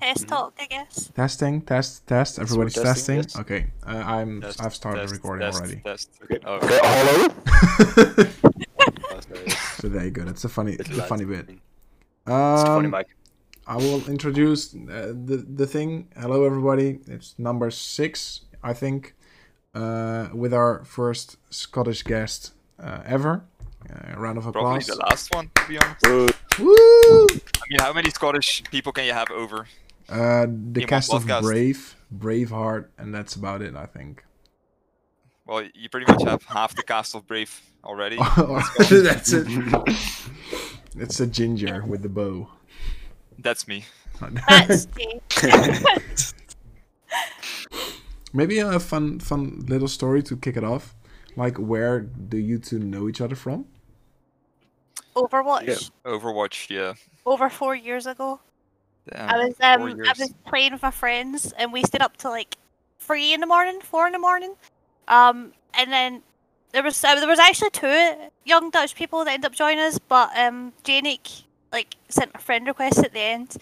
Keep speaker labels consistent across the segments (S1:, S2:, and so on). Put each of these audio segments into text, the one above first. S1: Mm-hmm.
S2: Test talk, I guess.
S3: Testing, test, test. Everybody's
S1: testing,
S3: testing.
S1: yes.
S3: Okay, uh, I'm.
S1: Test,
S3: I've started
S1: test,
S3: recording
S1: test,
S3: already.
S1: Test.
S4: Okay.
S1: Oh,
S4: Okay, hello?
S1: oh, sorry. It's
S3: So there you go. That's a funny. It's a
S1: loud.
S3: funny bit.
S1: It's
S3: Um,
S1: funny, Mike.
S3: I will introduce uh, the the thing. Hello, everybody. It's number six, I think, uh, with our first Scottish guest uh, ever. Uh, round of
S1: Probably
S3: applause.
S1: the last one, to be honest.
S4: Woo.
S3: Woo!
S1: I mean, how many Scottish people can you have over?
S3: Uh, the
S1: Yeah,
S3: cast of
S1: podcast.
S3: Brave, Braveheart, and that's about it, I think.
S1: Well, you pretty much have half the cast of Brave already.
S3: that's it. It's a ginger with the bow.
S1: That's me.
S2: That's the
S3: Maybe a fun, fun little story to kick it off. Like, where do you two know each other from?
S2: Overwatch.
S1: Overwatch, yeah.
S2: Over four years ago,
S1: Damn,
S2: I was um,
S1: Mm, four
S2: I
S1: years.
S2: was playing with my friends, and we stayed up till like three in the morning, four in the morning, um, and then there was uh, there was actually two young Dutch people that ended up joining us, but um, Janik like sent a friend request at the end,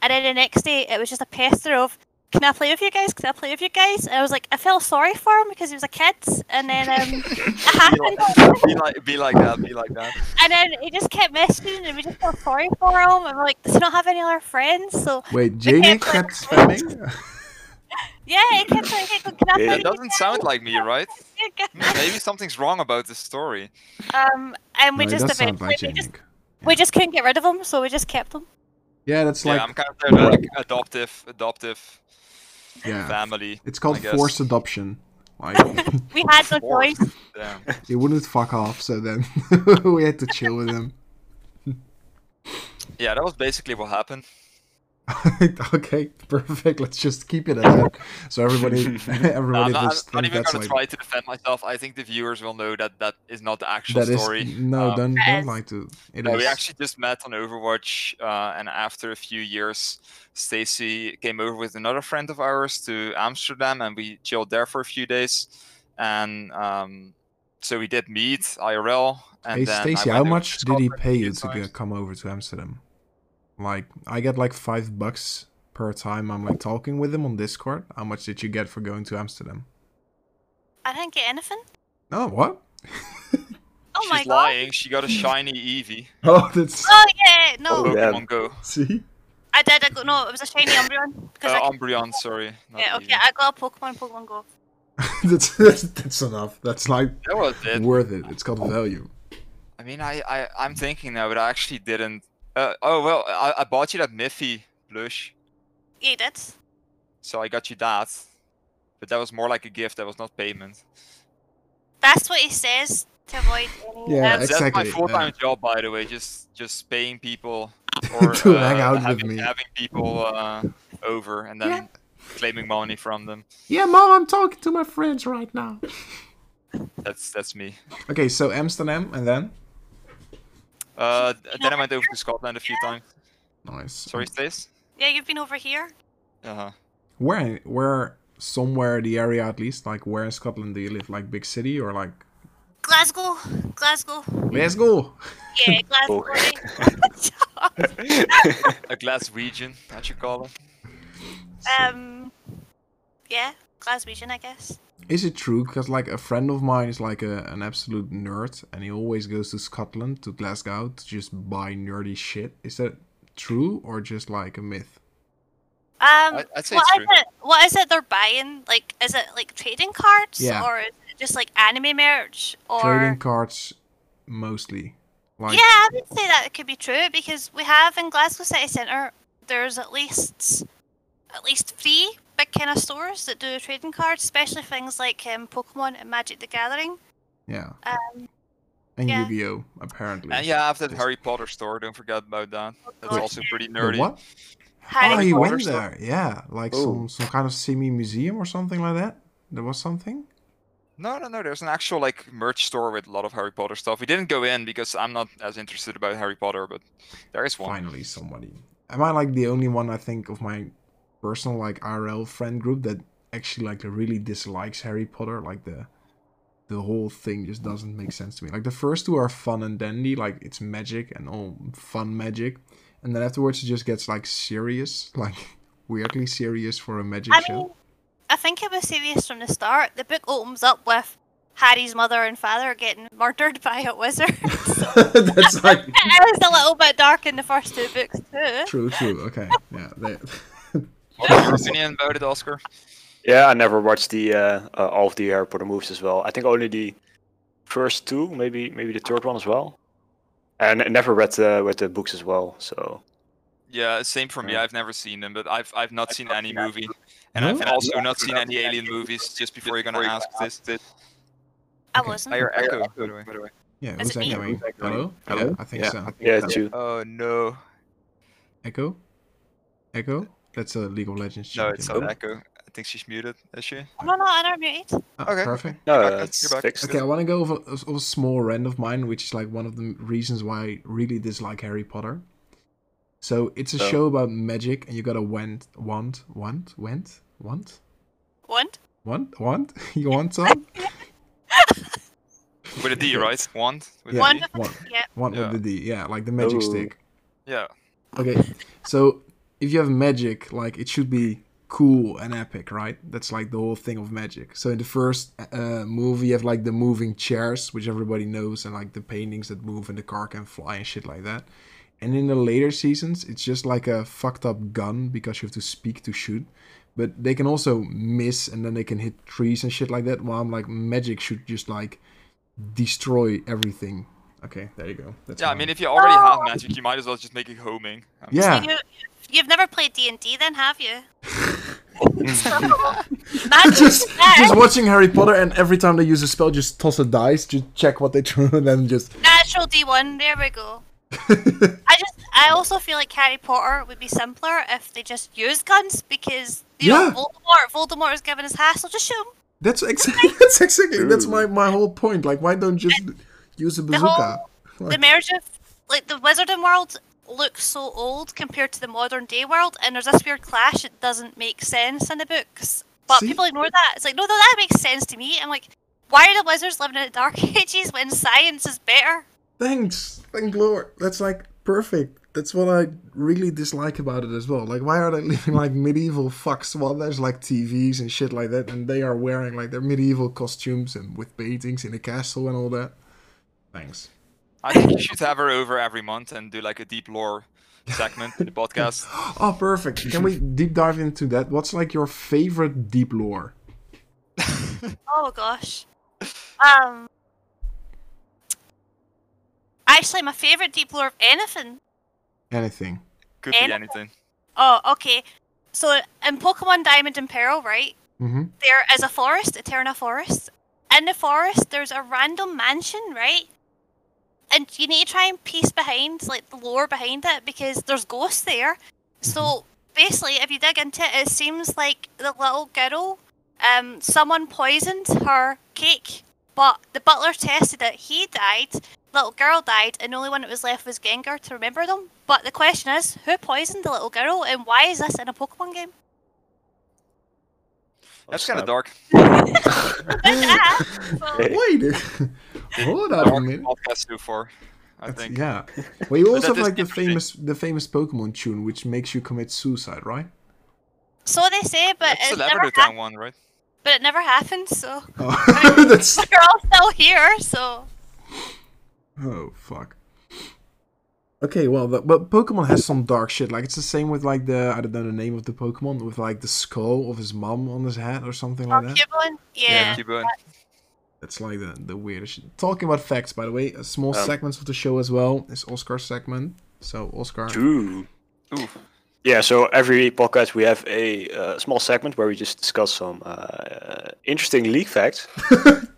S2: and then the next day it was just a pester of. Can I play with you guys? Can I play with you guys? And I was like, I felt sorry for him because he was a kid, and then um, it happened.
S1: be like, be like that, be like that.
S2: And then he just kept messaging, and we just felt sorry for him. And we're like, does he not have any other friends? So
S3: Wait,
S2: Okay,
S3: Jamie kept spamming?
S2: yeah, it kept like, it kept- can I
S4: Yeah,
S2: play with
S1: That
S2: you
S1: doesn't sound
S2: guys?
S1: like me, right?
S2: Yeah,
S1: Hmm, Maybe something's wrong about this story.
S2: Um, and we
S3: No, it
S2: just
S3: does sound
S2: eventually
S3: like
S2: we just
S3: Janik.
S2: we just couldn't get rid of him, so we just kept him.
S3: Yeah, that's
S1: yeah,
S3: like
S1: I'm kind of uh, like adoptive, adoptive
S3: yeah.
S1: family.
S3: It's called
S1: I guess.
S3: forced adoption. Like
S2: We had no
S1: Forced.
S2: choice.
S1: Damn.
S3: he wouldn't fuck off, so then we had to chill with him.
S1: Yeah, that was basically what happened.
S3: okay, perfect. Let's just keep it at that. So everybody,
S1: No, I'm
S3: everybody
S1: not, I'm
S3: just
S1: not
S3: thinks
S1: even
S3: that's
S1: gonna
S3: like
S1: try to defend myself. I think the viewers will know that that is not the actual
S3: that is
S1: story.
S3: no,
S1: Um,
S3: don't
S2: Yes.
S3: don't like to. It
S1: No, we
S3: is-
S1: actually just met on Overwatch, uh, and after a few years, Stacy came over with another friend of ours to Amsterdam, and we chilled there for a few days. And um, so we did meet IRL. And
S3: hey
S1: then I
S3: Stacy,
S1: went
S3: how
S1: over
S3: much
S1: to
S3: did he
S1: Scotland a
S3: pay
S1: few
S3: you to
S1: times.
S3: get, come over to Amsterdam? Like, I get like five bucks per time. I'm like talking with him on Discord. How much did you get for going to Amsterdam?
S2: I didn't get anything.
S3: No, what?
S2: Oh
S1: She's
S2: my god.
S1: lying. She got a shiny Eevee.
S3: Oh, that's
S2: Oh yeah, no,
S4: Oh, yeah.
S1: Pokemon Go.
S3: see.
S2: I did. I got no. It was a shiny Umbreon. Cause
S1: Uh,
S2: I,
S1: Umbreon, sorry. not
S2: yeah, okay,
S1: Eevee.
S2: I got a Pokemon Pokemon Go.
S3: that's, that's that's enough. That's like
S1: That was it.
S3: worth it. It's got value.
S1: I mean, I, I, I'm thinking now, but I actually didn't. Uh, oh, well, I, I bought you that Miffy plush,
S2: Yeah, you did.
S1: so I got you that. But that was more like a gift, that was not payment.
S2: That's what he says to avoid any.
S3: Yeah,
S2: um,
S3: ex-
S1: That's my
S3: Exactly,
S1: full-time job, by the way. Just just paying people or
S3: To
S1: uh,
S3: hang out with
S1: having,
S3: me.
S1: having people uh, over and then
S3: Yeah.
S1: claiming money from them.
S3: Yeah, mom, I'm talking to my friends right now.
S1: That's that's me.
S3: Okay, so Amsterdam and then
S1: Uh, th- then I went over to Scotland a few times.
S3: nice.
S1: Sorry, Stace.
S2: yeah, you've been over here.
S1: Uh huh.
S3: Where where somewhere in the area at least like where in Scotland do you live? Like big city or like
S2: Glasgow, Glasgow.
S3: Let's go.
S2: Yeah, Glasgow.
S1: Oh.
S2: right?
S1: A Glaswegian, that you call it.
S2: um, yeah, Glaswegian, I guess.
S3: Is it true? Because like a friend of mine is like a, an absolute nerd, and he always goes to Scotland to Glasgow to just buy nerdy shit. Is that true or just like a myth?
S2: Um,
S1: I- I'd say
S2: what
S1: it's
S2: is
S1: true.
S2: it? What is it they're buying? Like, is it like trading cards,
S3: Yeah.
S2: or is it just like anime merch, or
S3: Trading cards, mostly. Like
S2: yeah, I would say that could be true because we have in Glasgow City Centre. There's at least at least three big kind of stores that do trading cards, especially things like um, Pokemon and Magic the Gathering.
S3: yeah.
S2: Um,
S3: and
S2: yeah.
S3: Yu-Gi-Oh, apparently.
S1: And Uh, yeah, I have that
S3: Yes.
S1: Harry Potter store. Don't forget about that. That's
S2: Wait.
S1: also pretty
S3: The
S1: nerdy.
S3: what?
S2: Harry
S3: oh, you
S2: Potter
S3: went
S1: store.
S3: there. Yeah, like
S4: Oh.
S3: some some kind of semi museum or something like that. There was something.
S1: No, no, no. There's an actual like merch store with a lot of Harry Potter stuff. We didn't go in because I'm not as interested about Harry Potter, but there is one.
S3: Finally, somebody. Am I like the only one I think of my personal like RL friend group that actually like really dislikes Harry Potter? Like the the whole thing just doesn't make sense to me. Like the first two are fun and dandy, like it's magic and all fun magic, and then afterwards it just gets like serious, like. weirdly serious for a magic
S2: I
S3: show?
S2: mean, I think it was serious from the start. The book opens up with Harry's mother and father getting murdered by a wizard.
S3: That's like
S2: it was a little bit dark in the first two books too.
S3: true, true. Okay, yeah. that-
S1: What's your opinion about it, Oscar?
S4: Yeah, I never watched the uh, uh, all of the Harry Potter movies as well. I think only the first two, maybe maybe the third one as well. And I never read the read the books as well. So
S1: Yeah, same for me. I've never seen them, but I've I've not seen any movie, and I've
S3: No?
S1: also not seen any Alien movies. Just before you're gonna ask this, this
S2: I
S3: Okay.
S2: wasn't.
S1: I hear echo. By the way.
S3: Yeah,
S2: Is
S3: who's
S2: it me?
S3: echoing? Hello?
S5: Hello?
S3: Yeah, I think
S5: Yeah,
S3: so.
S4: yeah, it's you.
S1: Oh no,
S3: Echo? Echo? That's a League of Legends.
S1: no,
S3: champion.
S1: it's not echo. I think she's muted. Is she?
S2: No, no, I don't mute.
S3: Oh,
S1: Okay.
S3: Perfect.
S4: No,
S1: back,
S4: uh,
S1: you're
S4: it's
S1: back.
S4: fixed.
S3: Okay, I want to go over a, of a small rant of mine, which is like one of the reasons why I really dislike Harry Potter. So it's a
S4: Oh.
S3: show about magic, and you gotta went, want, want, went, want,
S2: One.
S3: want, want. you want some?
S1: With a D, right? Wand. With a
S3: Yeah.
S2: One.
S1: D?
S3: Want,
S2: Yeah.
S3: want
S1: Yeah.
S3: with the D. Yeah, like the magic
S4: Oh.
S3: stick.
S1: Yeah.
S3: Okay, so if you have magic, like it should be cool and epic, right? That's like the whole thing of magic. So in the first uh, movie, you have like the moving chairs, which everybody knows, and like the paintings that move and the car can fly and shit like that. And in the later seasons, it's just like a fucked up gun because you have to speak to shoot. But they can also miss and then they can hit trees and shit like that. While I'm like, magic should just like destroy everything. Okay, there you go. That's
S1: Yeah, I
S3: mine.
S1: mean, if you already have
S2: Oh.
S1: magic, you might as well just make it homing. I mean,
S3: yeah.
S2: You, you've never played D and D, then have you?
S3: just
S2: Magic's there.
S3: just watching Harry Potter and every time they use a spell, just toss a dice, just check what they threw, and then just
S2: Natural D one. There we go. I just, I also feel like Harry Potter would be simpler if they just used guns because you know
S3: Yeah.
S2: Voldemort. Voldemort is giving his hassle. Just shoot him.
S3: that's exactly that's exactly that's my my whole point. Like, why don't just use a bazooka?
S2: The marriage of like the wizarding world looks so old compared to the modern day world, and there's this weird clash. It doesn't make sense in the books, but
S3: See?
S2: people ignore that. It's like no, no, that makes sense to me. I'm like, why are the wizards living in the dark ages when science is better?
S3: Thanks, thank Lord. That's like perfect. That's what I really dislike about it as well. Like, why are they living like medieval fucks? Well, there's like TVs and shit like that, and they are wearing like their medieval costumes and with paintings in a castle and all that. Thanks.
S1: I think you should have her over every month and do like a deep lore segment in the podcast.
S3: Oh, perfect. Can we deep dive into that? What's like your favorite deep lore?
S2: Oh gosh. Um. Actually, my favorite deep lore of anything.
S3: Anything.
S1: Could be
S2: And-
S1: anything.
S2: Oh, okay. So in Pokemon Diamond and Pearl, right?
S3: Mm-hmm.
S2: There is a forest, Eterna Forest. In the forest, there's a random mansion, right? And you need to try and piece behind, like the lore behind it, because there's ghosts there. So basically, if you dig into it, it seems like the little girl, um, someone poisoned her cake, but the butler tested it. He died, little girl died, and the only one that was left was Gengar to remember them. But the question is, who poisoned the little girl, and why is this in a Pokemon game?
S1: That's kind of
S4: Snap.
S1: dark.
S2: Ah, well,
S3: Wait. Hold up a
S1: Dark
S3: minute.
S1: podcast so far, I
S3: That's-
S1: think.
S3: Yeah. Well, you also
S1: that
S3: have
S1: is
S3: like the
S1: interesting.
S3: famous the famous Pokemon tune, which makes you commit suicide, right?
S2: So they say, but
S1: That's the
S2: it never,
S1: Labrador Town one, right?
S2: hap- but it never happened, so
S3: Oh, that's
S2: we're all still here, so.
S3: oh fuck. Okay, well, but, but Pokemon has some dark shit. Like it's the same with like the I don't know the name of the Pokemon with like the skull of his mom on his head or something
S2: Oh,
S3: like that.
S2: Cubone? Yeah.
S1: Keep going.
S3: That's like the, the weirdest shit. Talking about facts, by the way, a small
S4: Um,
S3: segments of the show as well is Oscar's segment. So Oscar,
S4: Ooh.
S1: Ooh.
S4: Yeah, so every podcast we have a uh, small segment where we just discuss some uh, interesting leak facts,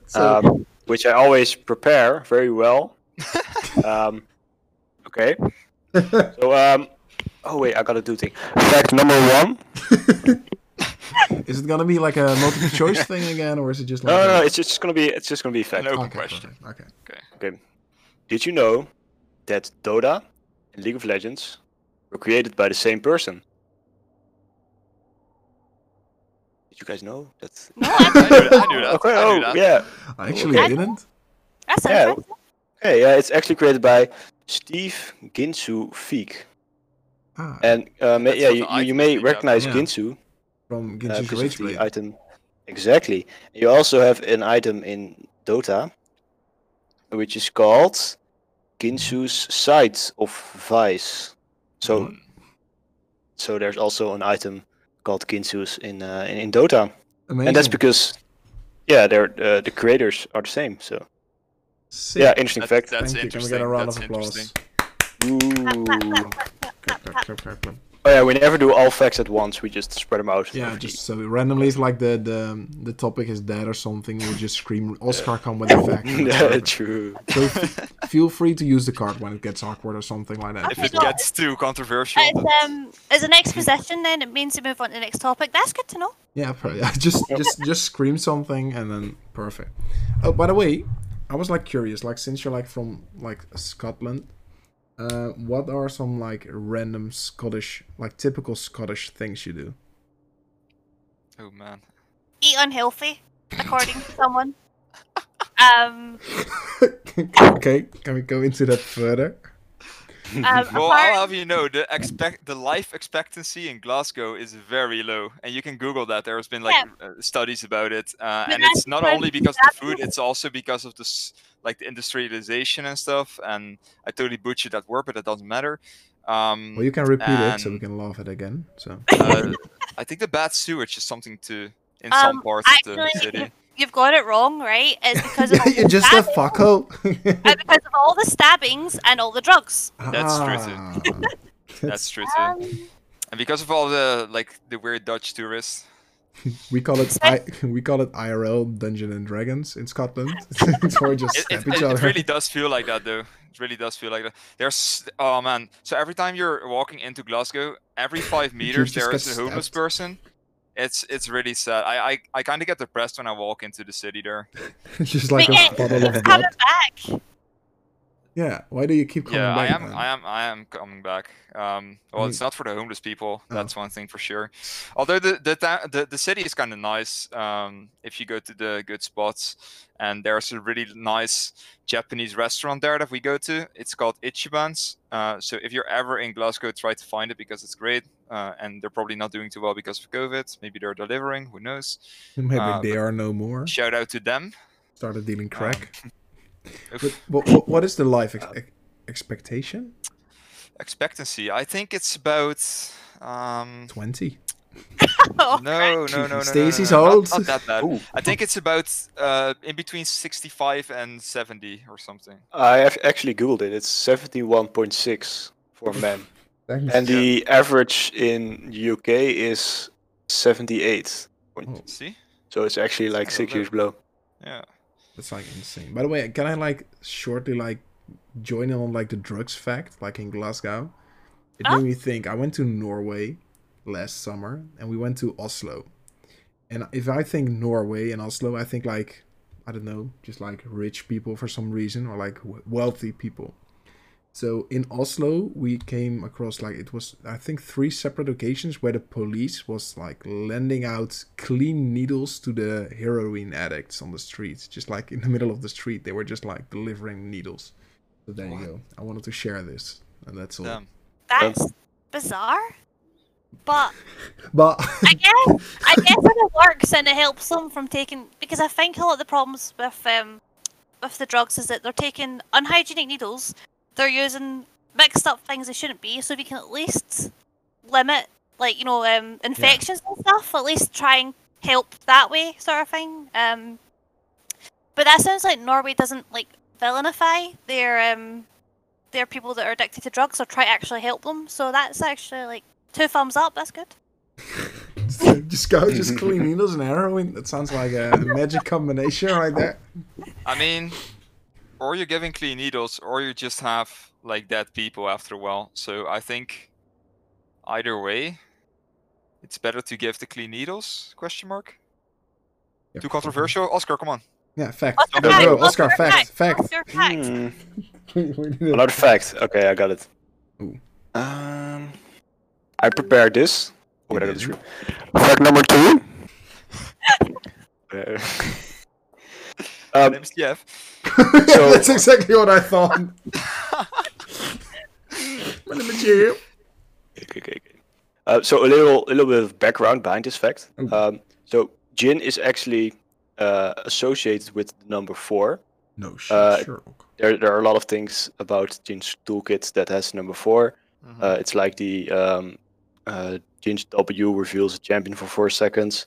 S3: So-
S4: um, which I always prepare very well. um, okay. So, um, oh wait, I gotta do thing. Fact number one.
S3: is it gonna be like a multiple choice thing again, or is it just like
S4: um, No, no,
S3: a-
S4: no, it's just gonna be it's just gonna be a fact.
S1: An open
S3: okay,
S1: question.
S3: perfect, okay.
S4: Okay. Did you know that Dota and League of Legends were created by the same person? Did you guys know that?
S2: No, I,
S1: I knew that. I knew that.
S4: Okay.
S1: I knew
S4: Oh,
S1: that.
S4: yeah.
S3: I actually
S2: Okay.
S3: didn't.
S2: that's
S4: Yeah.
S2: interesting.
S4: Hey, yeah, it's actually created by Steve Ginsu Feek.
S3: Ah,
S4: And um,
S1: That's
S4: yeah, you,
S1: what the
S4: you- you
S1: items
S4: may
S1: we got.
S4: recognize
S3: Yeah.
S4: Ginsu
S3: from
S4: uh,
S3: Ginsu's
S4: because
S3: Rage
S4: of the
S3: Blade.
S4: item. Exactly. You also have an item in Dota, which is called Ginsu's Sight of Vice. So
S3: Mm.
S4: so there's also an item called Ginsu's in uh, in, in Dota,
S3: Amazing.
S4: and that's because yeah, they're uh, the creators are the same. So
S3: Sick.
S4: yeah, interesting
S1: That's,
S4: fact.
S1: that's
S3: Thank you. Can we
S1: interesting.
S3: get a round
S1: that's
S3: of
S1: interesting.
S3: applause?
S4: Ooh.
S3: Clap, clap, clap, clap, clap.
S4: Oh yeah, we never do all facts at once. We just spread them out.
S3: Yeah,
S4: over
S3: just
S4: the-
S3: so randomly, if like the the the topic is dead or something, we just scream Oscar come with a fact. and it's
S4: yeah,
S3: over.
S4: true.
S3: so f- feel free to use the card when it gets awkward or something like
S2: If
S3: that.
S1: If
S2: Okay,
S1: it
S2: no,
S1: gets too controversial,
S2: As, um, as an exposition, then it means to move on to the next topic. That's good to know.
S3: Yeah, per- yeah, just just just scream something and then perfect. Oh, by the way, I was like curious, like since you're like from like Scotland, uh, what are some like random Scottish, like typical Scottish things you do?
S1: oh man,
S2: Eat unhealthy, according to someone. Um,
S3: okay, can we go into that further?
S2: um,
S1: Well,
S2: apart-
S1: I'll have you know the expect the life expectancy in Glasgow is very low, and you can Google that. There's been like uh, studies about it, uh,
S2: But
S1: and
S2: that's
S1: it's not
S2: because
S1: only because of the
S2: Glasgow-
S1: food; it's also because of this like the industrialization and stuff. And I totally butchered that word, but that doesn't matter. Um,
S3: Well, you can repeat it so we
S1: And-
S3: can laugh it again. So
S1: uh, I think the bad sewage is something to in
S2: Um,
S1: some parts of the
S2: actually,
S1: city.
S2: You've got it wrong, right? It's because of all
S3: you're
S2: the
S3: just a
S2: stabbing-
S3: fucko.
S2: uh, because of all the stabbings and all the drugs.
S1: That's true too.
S3: true.
S1: That's true too.
S2: Um,
S1: And because of all the like the weird Dutch tourists,
S3: We call it I, we call it IRL Dungeon and Dragons in Scotland. it's where we just
S1: it, it,
S3: stab each
S1: it- it
S3: other.
S1: really does feel like that though. It really does feel like that. There's oh man. So every time you're walking into Glasgow, every five meters
S3: just
S1: there
S3: get
S1: is a homeless
S3: stabbed.
S1: person. It's it's really sad. I I, I kind of get depressed when I walk into the city there.
S3: It's just like
S2: but
S3: a
S2: yeah,
S3: bottle
S2: it's
S3: of blood.
S2: coming back.
S3: Yeah. Why do you keep coming
S1: yeah, I
S3: back?
S1: am
S3: man? Mm.
S1: I am I am coming back. Um, well,
S3: mean-
S1: it's not for the homeless people.
S3: Oh.
S1: That's one thing for sure. Although the the ta- the, the city is kind of nice. Um, if you go to the good spots, and there's a really nice Japanese restaurant there that we go to. It's called Ichiban's. Uh, so if you're ever in Glasgow, try to find it because it's great. Uh, and they're probably not doing too well because of COVID. Maybe they're delivering. Who knows?
S3: Maybe
S1: uh,
S3: they are no more.
S1: Shout out to them.
S3: Started dealing crack.
S1: Oof.
S3: um, but what, what, what is the life ex- ex- expectation?
S1: Expectancy. I think it's about. Um,
S3: Twenty.
S2: Oh,
S1: no, no, no, no, no. no,
S3: Stacey's
S1: no, not-
S3: old.
S1: Not, that bad.
S4: Ooh.
S1: I think it's about uh, in between 65 and 70 or something.
S4: I have actually googled it. It's seventy-one point six for men,
S3: Thanks.
S4: and the average in UK is seventy-eight.
S1: See?
S4: So it's actually like
S1: kinda
S4: six
S1: low.
S4: years below.
S1: Yeah.
S3: That's like insane. By the way, can I like shortly like join in on like the drugs fact, like in Glasgow? It
S2: Huh?
S3: made me think. I went to Norway last summer and we went to Oslo. And if I think Norway and Oslo, I think like I don't know, just like rich people for some reason or like w- wealthy people. So in Oslo, we came across like it was I think three separate occasions where the police was like lending out clean needles to the heroin addicts on the streets, just like in the middle of the street. They were just like delivering needles. So there
S1: What?
S3: you go. I wanted to share this, and that's all.
S1: Damn.
S2: that's bizarre. But
S3: But
S2: I guess I guess it works and it helps them from taking because I think a lot of the problems with um with the drugs is that they're taking unhygienic needles, they're using mixed up things they shouldn't be, so we can at least limit like you know um infections and stuff. At least try and help that way, sort of thing. Um, but that sounds like Norway doesn't like villainify their um their people that are addicted to drugs or try to actually help them. So that's actually like two thumbs up. That's good.
S3: just go, just clean needles and heroin. That sounds like a magic combination right there.
S1: I mean, or you're giving clean needles, or you just have like dead people after a while. So I think either way, it's better to give the clean needles? Question mark.
S3: Yeah,
S1: Too controversial, Oscar. Come on.
S3: Yeah, fact.
S2: Oscar,
S3: Go,
S2: fact,
S3: go, Oscar, fact, fact.
S2: Oscar fact.
S4: Hmm,
S3: We need a-
S4: Another fact. Okay, I got it.
S3: Ooh.
S4: Um, I prepared this. Oh, wait, I got this
S3: Mhm.
S4: wrong. Fact number two. Uh,
S1: My
S4: um,
S1: name's Jeff.
S4: So-
S3: That's exactly what I thought. What the material.
S4: Okay, okay, okay. Uh, so a little, a little bit of background behind this fact.
S3: Mm.
S4: Um, so gin is actually uh, associated with the number four.
S3: No shit,
S4: Uh,
S3: Sherlock.
S4: There, there are a lot of things about gin's toolkit that has number four. Uh, it's like the um, uh, Jinch W reveals a champion for four seconds.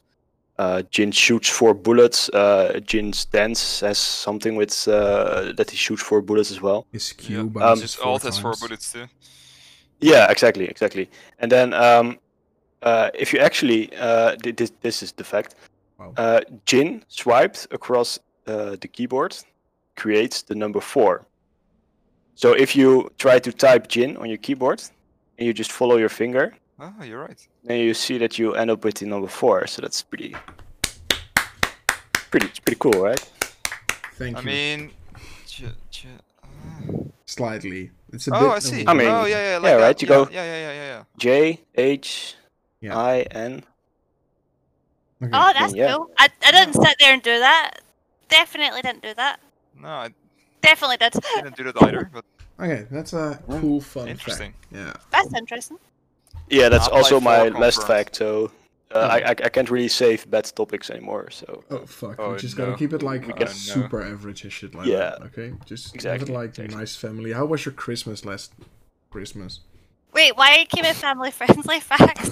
S4: Uh, Jin shoots four bullets. Uh, Jin's dance has something with uh, that he shoots four bullets as well.
S3: Is
S1: Yeah.
S3: Q by
S4: Um,
S1: Just alt has four bullets too.
S4: Yeah, exactly, exactly. And then um, uh, if you actually uh, thi- this this is the fact.
S3: Wow.
S4: Uh, Jin swiped across uh, the keyboard creates the number four. So if you try to type Jin on your keyboard and you just follow your finger,
S1: Oh, you're right.
S4: then you see that you end up with the number four. So that's pretty, pretty, it's pretty cool, right?
S3: Thank
S1: I
S3: you.
S1: mean, j- j- ah.
S3: Slightly. It's a bit.
S1: oh, I
S3: of
S1: see.
S3: a-
S4: I mean,
S1: oh, yeah, yeah, like
S4: yeah,
S1: that.
S4: right, you
S1: yeah,
S4: go-
S1: Yeah, yeah, yeah, yeah, yeah.
S4: J H
S3: Yeah.
S4: I N.
S3: Okay.
S2: Oh, that's
S4: Hmm, Yeah.
S2: cool. I, I didn't sit there and do that. Definitely didn't do that.
S1: No, I
S2: Definitely did.
S1: didn't do that either. But
S3: Okay, that's a
S4: Yeah.
S3: cool fun
S1: Oh. Interesting.
S3: fact. Yeah.
S2: That's interesting.
S4: Yeah, that's
S1: Half-Life
S4: also
S1: 4
S4: my last
S1: confirmed.
S4: fact. So uh, I, I I can't really save bad topics anymore. So
S3: Oh fuck.
S1: Oh,
S3: we just
S1: no.
S3: gotta keep it like
S1: We can-
S3: super average and shit like
S4: Yeah.
S3: that. Okay. Just have
S4: Exactly,
S3: it like
S4: exactly.
S3: nice family. How was your Christmas last Christmas?
S2: Wait, why came it family friendly facts?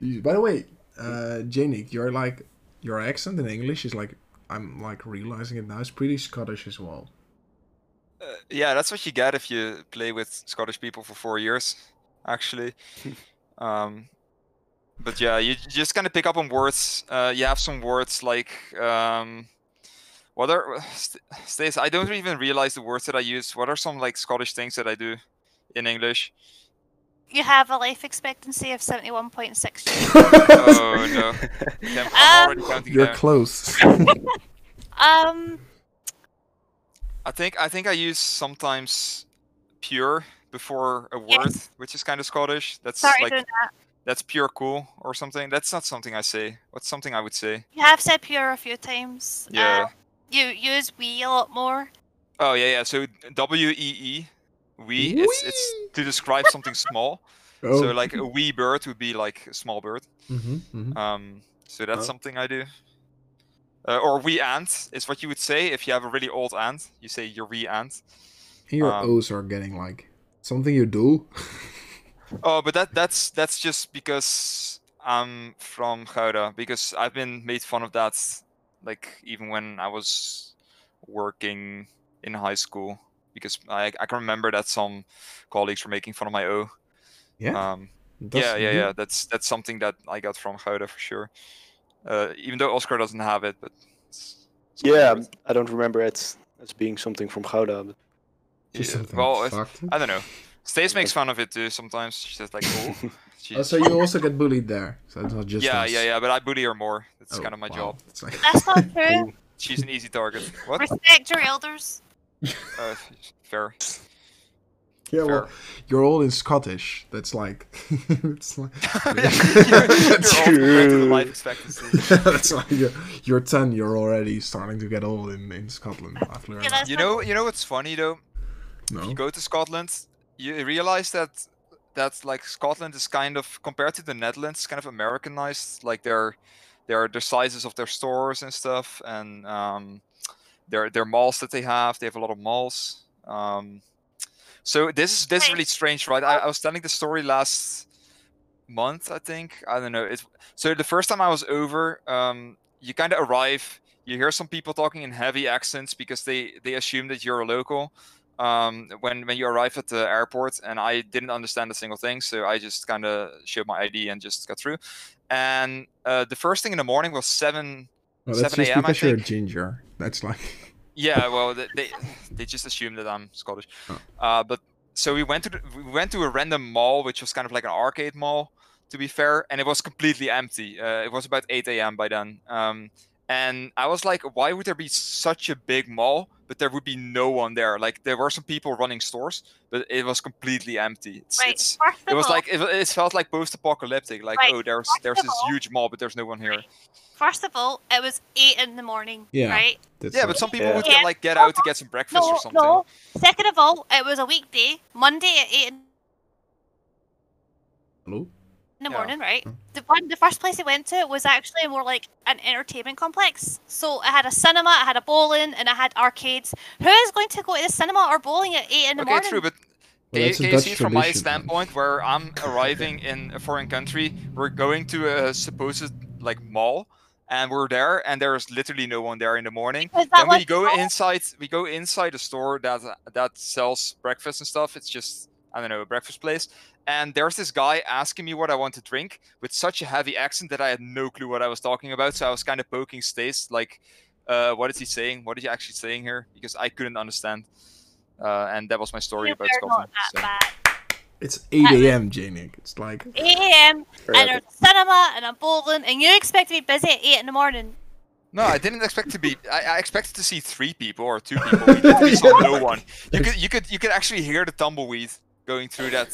S3: You- By the way, uh, Janik, your like your accent in English is like I'm like realizing it now. It's pretty Scottish as well.
S1: uh, yeah, that's what you get if you play with Scottish people for four years, actually. um, but yeah, you j- just kind of pick up on words. Uh, you have some words like um, what are uh, st- Stace? I don't even realize the words that I use. What are some like Scottish things that I do in English?
S2: You have a life expectancy of 71.6 years.
S1: Oh no, Damn,
S4: Ah!
S1: I'm already counting
S3: You're
S1: down.
S3: close.
S2: Um,
S1: I think I think I use sometimes pure before a word,
S2: Yes.
S1: which is kind of Scottish. That's
S2: sorry,
S1: like
S2: doing that.
S1: that's pure cool or something. That's not something I say. What's something I would say?
S2: You have said pure a few times. Uh,
S1: Yeah.
S2: you use we a lot more.
S1: Oh yeah, yeah. So W E E, wee. It's it's to describe something small.
S3: oh.
S1: So like a wee bird would be like a small bird.
S3: hmm hmm
S1: Um, so that's
S4: Oh.
S1: something I do. Uh, or wee ant is what you would say if you have a really old ant. You say your wee ant.
S3: Your
S1: um,
S3: O's are getting like something you do.
S1: Oh, but that that's that's just because I'm from Gouda. Because I've been made fun of that, like even when I was working in high school. Because I I can remember that some colleagues were making fun of my O.
S3: yeah.
S1: Um,
S3: that's-
S1: yeah, yeah,
S3: you-
S1: yeah. That's that's something that I got from Gouda for sure. Uh, even though Oscar doesn't have it, but it's something
S4: yeah,
S1: with-
S4: I don't remember it as being something from Gouda. But
S3: Just
S1: yeah,
S3: something
S1: well, it's-
S3: fucked.
S1: I don't know. Stace makes fun of it too sometimes. She's just like, oh, she-
S3: Oh, so you also get bullied there. So it's not just
S1: yeah,
S3: us.
S1: yeah, yeah. But I bully her more. That's
S3: Oh,
S1: kind of my
S3: wow.
S1: job.
S3: It's like-
S2: That's not true.
S1: She's an easy target. What?
S2: Respect your elders.
S1: Uh, fair.
S3: yeah,
S1: fair.
S3: well, you're all in Scottish. That's like, it's like,
S1: You're old compared to the life
S4: True.
S1: expectancy.
S3: that's like you're, you're ten. You're already starting to get old in, in Scotland. I've learned.
S2: Yeah, that's
S1: You
S2: not-
S1: know, you know what's funny though? If
S3: no.
S1: you go to Scotland, you realize that that like Scotland is kind of compared to the Netherlands, kind of Americanized. Like their their their sizes of their stores and stuff, and um, their their malls that they have. They have a lot of malls. Um, so this is this is
S2: Wait.
S1: really strange, right? I, I was telling the story last month, I think. I don't know. It's so the first time I was over, um, you kind of arrive. You hear some people talking in heavy accents because they they assume that you're a local. Um, when when you arrive at the airport, and I didn't understand a single thing, so I just kind of showed my ID and just got through. And uh, the first thing in the morning was seven
S3: No, that's
S1: 7
S3: just
S1: a.m., I
S3: because you're a
S1: think.
S3: ginger. That's like
S1: yeah, well, they they, they just assume that I'm Scottish.
S3: Oh.
S1: Uh, but so we went to the, we went to a random mall, which was kind of like an arcade mall, to be fair, and it was completely empty. Uh, it was about 8 a.m. by then, um, And I was like, why would there be such a big mall, but there would be no one there? Like there were some people running stores, but it was completely empty. It's,
S2: Wait,
S1: it's-
S2: first of
S1: it was
S2: all,
S1: like it, it felt like post-apocalyptic. Like
S2: Right,
S1: oh, there's
S2: first
S1: there's
S2: of
S1: this
S2: all-
S1: huge mall, but there's no one here.
S2: Right. first of all, it was eight in the morning,
S3: Yeah.
S2: right?
S3: That's
S1: Yeah,
S3: not-
S1: but some people
S4: Yeah.
S1: would
S2: Yeah.
S1: like get out to get some breakfast or
S2: No,
S1: something.
S2: no. Second of all, it was a weekday, Monday at eight in
S3: Hello?
S2: in the
S1: Yeah.
S2: morning, right?
S3: Mm.
S2: The one, the first place I went to was actually more like an entertainment complex. So it had a cinema, it had a bowling, and it had arcades. Who is going to go to the cinema or bowling at eight in the
S1: okay,
S2: morning?
S1: true, but
S3: Well,
S1: can, you-
S3: that's a
S1: can you
S3: Dutch
S1: see from my
S3: tradition, man.
S1: standpoint where I'm arriving in a foreign country, we're going to a supposed like mall, and we're there, and there's literally no one there in the morning.
S2: Because that
S1: Then
S2: was
S1: we go
S2: all-
S1: inside, we go inside a store that that sells breakfast and stuff. It's just I don't know a breakfast place, and there's this guy asking me what I want to drink with such a heavy accent that I had no clue what I was talking about. So I was kind of poking Stace like, uh, what is he saying? What is he actually saying here? Because I couldn't understand. Uh, and that was my story
S2: You
S1: about
S2: were
S1: Scotland.
S2: not
S1: so-
S2: that
S3: It's 8 a.m., Janik. It's like.
S2: bad. 8 a.m.
S4: Very
S2: and
S4: happy.
S2: there's a cinema and a bowling, and you expect to be busy at 8 in the morning.
S1: No, I didn't expect to be. I, I expected to see three people or two people. We literally saw no one. You could, you could, you could actually hear the tumbleweed going through that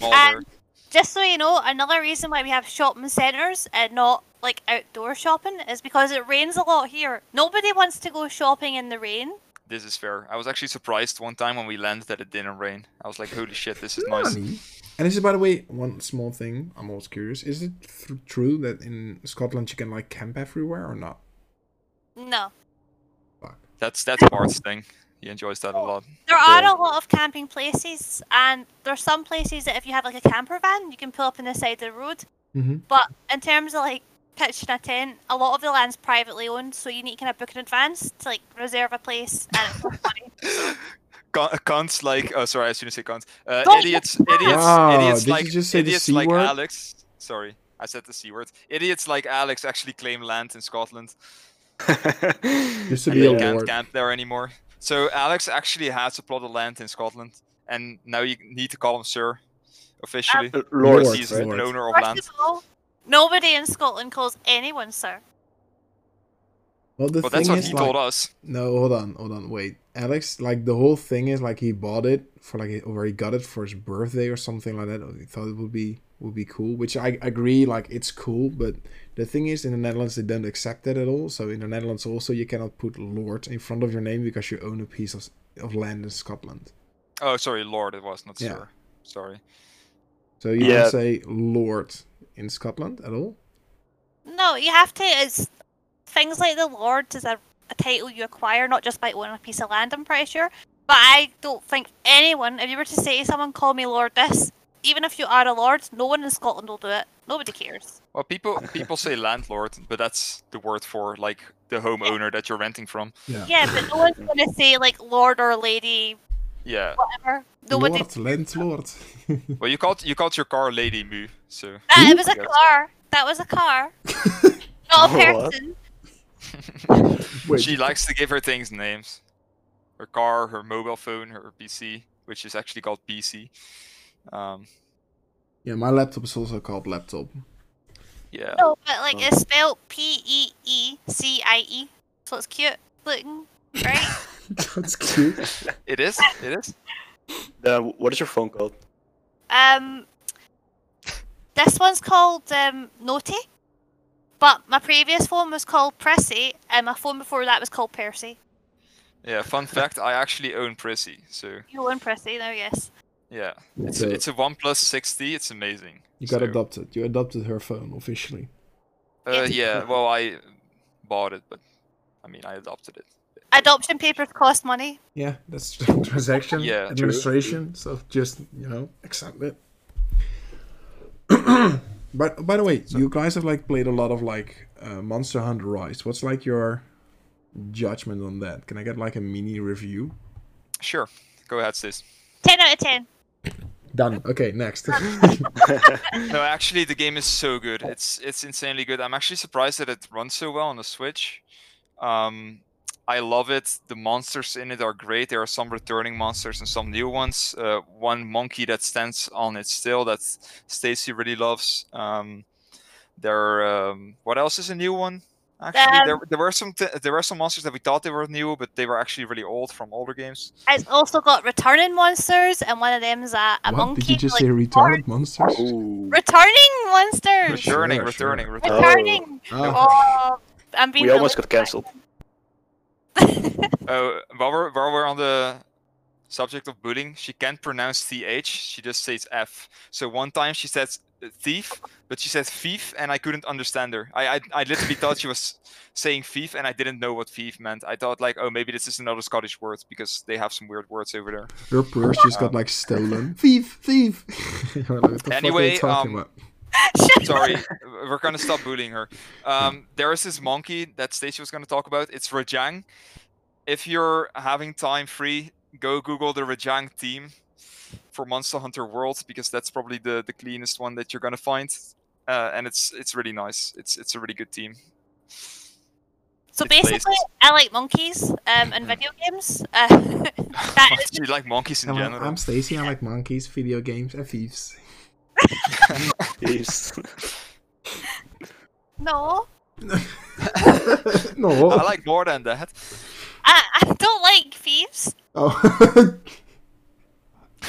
S1: mall there.
S2: And just so you know, another reason why we have shopping centres and not like outdoor shopping is because it rains a lot here. Nobody wants to go shopping in the rain.
S1: This is fair. I was actually surprised one time when we landed that it didn't rain. I was like, "Holy shit, this is nice."
S3: Nani? And this is, by the way, one small thing. I'm always curious. Is it th- true that in Scotland you can like camp everywhere or not?
S2: No.
S3: Fuck.
S1: That's that's Bart's thing. He enjoys that a lot.
S2: There are
S4: Yeah.
S2: a lot of camping places, and there's some places that if you have like a camper van, you can pull up on the side of the road.
S3: Mm-hmm.
S2: But in terms of like pitching a tent, a lot of the land's privately owned, so you need to kind of book in advance to like reserve a place. And it's not funny.
S1: Con- cunts like oh sorry, I shouldn't say cunts. Uh,
S2: Don't-
S1: idiots, idiots,
S3: Wow,
S1: idiots
S3: did you
S1: like
S3: just say the
S1: idiots
S3: C
S1: like
S3: word?
S1: Alex. Sorry, I said the c word. Idiots like Alex actually claim land in Scotland.
S3: Used to
S1: and
S3: be
S1: they
S3: a
S1: can't
S3: lord.
S1: camp there anymore. So Alex actually has a plot of land in Scotland, and now you need to call him Sir officially.
S4: Uh, Lord,
S3: Lord,
S1: He's
S4: right?
S3: Lord.
S1: an owner of land.
S2: First of all, nobody in Scotland calls anyone sir.
S3: Well, the
S1: But
S3: thing
S1: that's what
S3: is,
S1: he
S3: like,
S1: told us.
S3: no, hold on, hold on, wait. Alex, like the whole thing is like he bought it for like or he got it for his birthday or something like that. Or he thought it would be would be cool, which I agree, like it's cool. But the thing is, in the Netherlands they don't accept that at all. So in the Netherlands also you cannot put lord in front of your name because you own a piece of of land in Scotland.
S1: Oh, sorry, Lord, it was not
S3: Yeah.
S1: Sir. Sorry.
S3: So you
S4: Yeah.
S3: don't say lord in Scotland at all.
S2: No, you have to. It's things like the Lord is a, a title you acquire, not just by owning a piece of land. I'm pretty sure. But I don't think anyone, if you were to say to someone, "Call me Lord," this, even if you are a lord, no one in Scotland will do it. Nobody cares.
S1: Well, people people say landlord, but that's the word for like the homeowner that you're renting from.
S2: Yeah, but no one's going to say like Lord or Lady,
S1: Yeah.
S2: whatever. Nobody.
S3: Lord, landlord.
S1: Well, you called you called your car Lady Moo, so
S2: That, "Ah, it was a
S1: Yes.
S2: car. That was a car. Not a
S4: What?
S2: person.
S3: Wait,
S1: she likes to give her things names. Her car, her mobile phone, her PC, which is actually called PC. Um,
S3: yeah, my laptop is also called laptop.
S1: yeah.
S2: No, but like
S4: Oh.
S2: it's spelled P E E C I E, so it's cute looking, right?
S3: That's cute.
S1: It is. It is.
S4: Uh, what is your phone called?
S2: Um, this one's called um, Noti, but my previous phone was called Prissy, and my phone before that was called Percy.
S1: Yeah, fun fact, I actually own Prissy, so
S2: You own Prissy now, yes.
S1: yeah. It's
S3: So-
S1: a, it's a OnePlus 60, it's amazing.
S3: You got
S1: so,
S3: adopted. You adopted her phone officially.
S1: Uh, yeah, well, I bought it, but I mean, I adopted it.
S2: Adoption papers cost money.
S3: Yeah, that's transaction
S1: Yeah, true.
S3: administration. So just you know, accept it. but by the way, you guys have like played a lot of like uh, Monster Hunter Rise. What's like your judgment on that? Can I get like a mini review?
S1: Sure, go ahead, sis.
S2: Ten out of ten.
S3: Done. Okay, next.
S1: No, actually, the game is so good. It's it's insanely good. I'm actually surprised that it runs so well on the Switch. Um, I love it. The monsters in it are great. There are some returning monsters and some new ones. Uh, one monkey that stands on its tail that Stacy really loves. Um, there. are, Um, what else is a new one? Actually,
S2: Um,
S1: there, there were some t- there were some monsters that we thought they were new, but they were actually really old from older games.
S2: It's also got returning monsters, and one of them's a, a
S3: what
S2: monkey.
S3: did you just
S2: like,
S3: say? Retarded monsters?
S4: Ooh.
S2: Returning monsters.
S3: Sure,
S1: Returning,
S3: sure.
S1: returning, returning.
S2: Returning.
S3: Ah,
S2: Oh, I'm being.
S4: We almost got
S2: religious.
S4: cancelled.
S1: Uh, while we're while we're on the subject of bullying, she can't pronounce th. She just says f. So one time she says thief, but she said thief, and I couldn't understand her. I I, I literally thought she was saying thief, and I didn't know what thief meant. I thought like, oh, maybe this is another Scottish word because they have some weird words over there.
S3: Her purse just got like stolen. Oh. Thief, thief. You're like, what the
S1: Anyway,
S3: fuck are you talking
S1: um,
S3: about?
S1: Sorry, we're gonna stop bullying her. Um, there is this monkey that Stacey was gonna talk about. It's Rajang. If you're having time free, go Google the Rajang team for Monster Hunter World because that's probably the, the cleanest one that you're gonna find, uh, and it's it's really nice. It's it's a really good team.
S2: So
S1: It's placed.
S2: basically, I like monkeys um, in video games. Uh, that is
S1: Do you like monkeys in
S3: I'm,
S1: general?
S3: I'm Stacy. I like monkeys, video games, and thieves.
S4: Yes.
S2: no.
S3: no.
S1: I like more than that.
S2: I, I don't like thieves.
S3: Oh.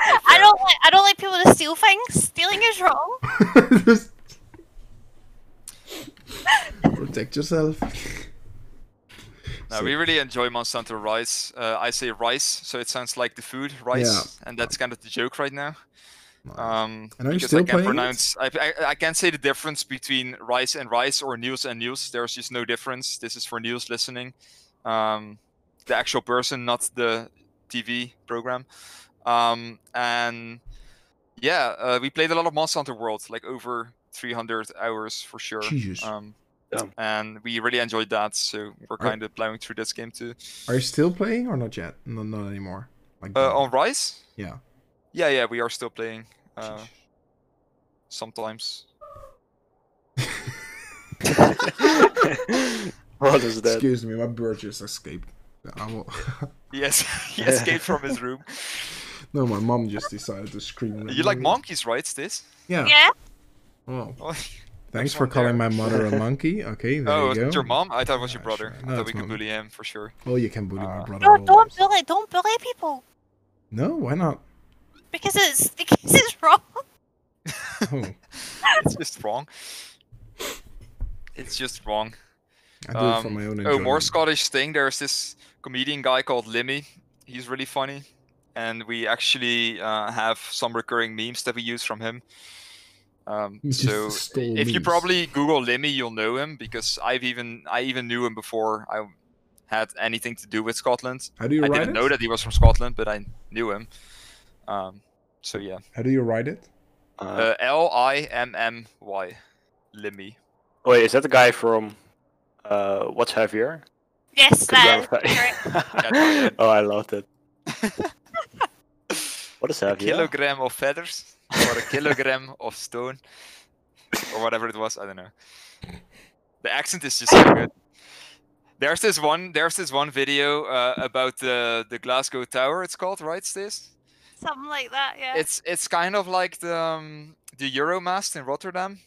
S2: I don't like I don't like people to steal things. Stealing is wrong.
S3: Just- Protect yourself.
S1: No,
S3: So-
S1: we really enjoy Monster Hunter Rise. Uh, I say rice, so it sounds like the food rice, and that's kind of the joke right now. Um,
S3: And are you
S1: because
S3: still
S1: I
S3: playing
S1: can't
S3: it?
S1: pronounce, I, I, I can't say the difference between rice and rice or news and news. There's just no difference. This is for news listening, um, the actual person, not the TV program. Um, and yeah, uh, we played a lot of Monster Hunter World, like over 300 hours for sure.
S3: Jesus.
S1: Um,
S4: Damn.
S1: and we really enjoyed that, so we're
S3: Are-
S1: kind of plowing through this game too.
S3: Are you still playing or not yet? No, not anymore. Like
S1: Uh,
S3: the-
S1: on Rise?
S3: yeah.
S1: Yeah, yeah, we are still playing. Uh, sometimes.
S4: what is that?
S3: Excuse me, my bird just escaped. I will...
S1: Yes, he escaped from his room.
S3: no, my mom just decided to scream.
S1: You like monkeys, right, Stis?
S3: Yeah.
S2: Yeah.
S3: Well,
S1: Oh,
S3: thanks
S1: There's
S3: for
S1: one
S3: calling my
S1: there.
S3: mother a monkey. Okay, there
S1: oh,
S3: you go.
S1: it's your mom? I thought it was your
S3: Yeah, sure.
S1: brother.
S3: No,
S1: I thought
S3: it's
S1: we
S3: mom.
S1: could bully him for sure.
S3: Oh, you can bully my
S1: Uh,
S3: brother.
S2: No, don't
S3: always.
S2: bully don't bully people.
S3: No, why not?
S2: Because it's because it's wrong.
S3: Oh,
S1: It's just wrong. It's just wrong.
S3: I do it for
S1: Um,
S3: my own
S1: Oh,
S3: enjoyment.
S1: more Scottish thing. There's this comedian guy called Limmy. He's really funny. And we actually uh, have some recurring memes that we use from him. Um,
S3: He just
S1: so
S3: stole
S1: if you
S3: memes.
S1: probably Google Lemmy, you'll know him because I've even I even knew him before I had anything to do with Scotland.
S3: How do you
S1: I
S3: write
S1: didn't
S3: it?
S1: know that he was from Scotland, but I knew him. Um, so yeah,
S3: How do you write it?
S4: Uh,
S1: uh, L I M M Y, Limmy.
S4: wait, is that the guy from uh, What's Heavier?
S2: Yes,
S4: Good
S2: that is
S4: round of-
S2: correct.
S4: oh, I loved it. what is
S1: A
S4: Heavier?
S1: kilogram of feathers or a kilogram of stone or whatever it was. I don't know. The accent is just so good. There's this one. There's this one video uh, about the the Glasgow Tower. It's called right, Stis?
S2: Something like that, yeah.
S1: it's it's kind of like the um, the Euromast in Rotterdam,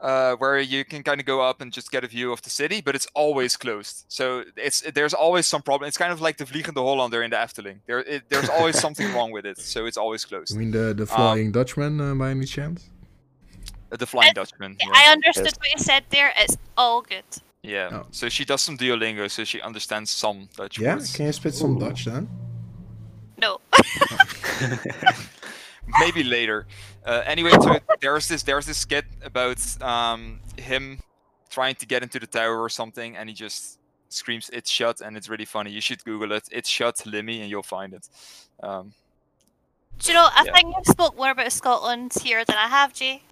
S1: uh, where you can kind of go up and just get a view of the city, but it's always closed. So it's there's always some problem. It's kind of like the Vliegende Hollander in the Efteling. There it, there's always something wrong with it, so it's always
S3: You
S1: closed.
S3: mean the, the Flying Dutchman uh, by any chance?
S1: Uh, The Flying Dutchman.
S2: Yeah,
S1: Yeah.
S2: I understood
S4: Yes.
S2: what you said there. It's all good.
S1: yeah.
S3: Oh.
S1: So she does some Duolingo, so she understands some Dutch
S3: Yeah,
S1: words.
S3: can you spit some
S4: Ooh.
S3: Dutch then?
S2: No.
S1: maybe later. Uh, anyway, so there's this there's this skit about um, him trying to get into the tower or something, and he just screams "It's shut!" and it's really funny. You should Google it. It's shut, Limmy, and you'll find it. Um,
S2: Do you know, I
S1: Yeah.
S2: think you've spoke more about Scotland here than I have, Jay.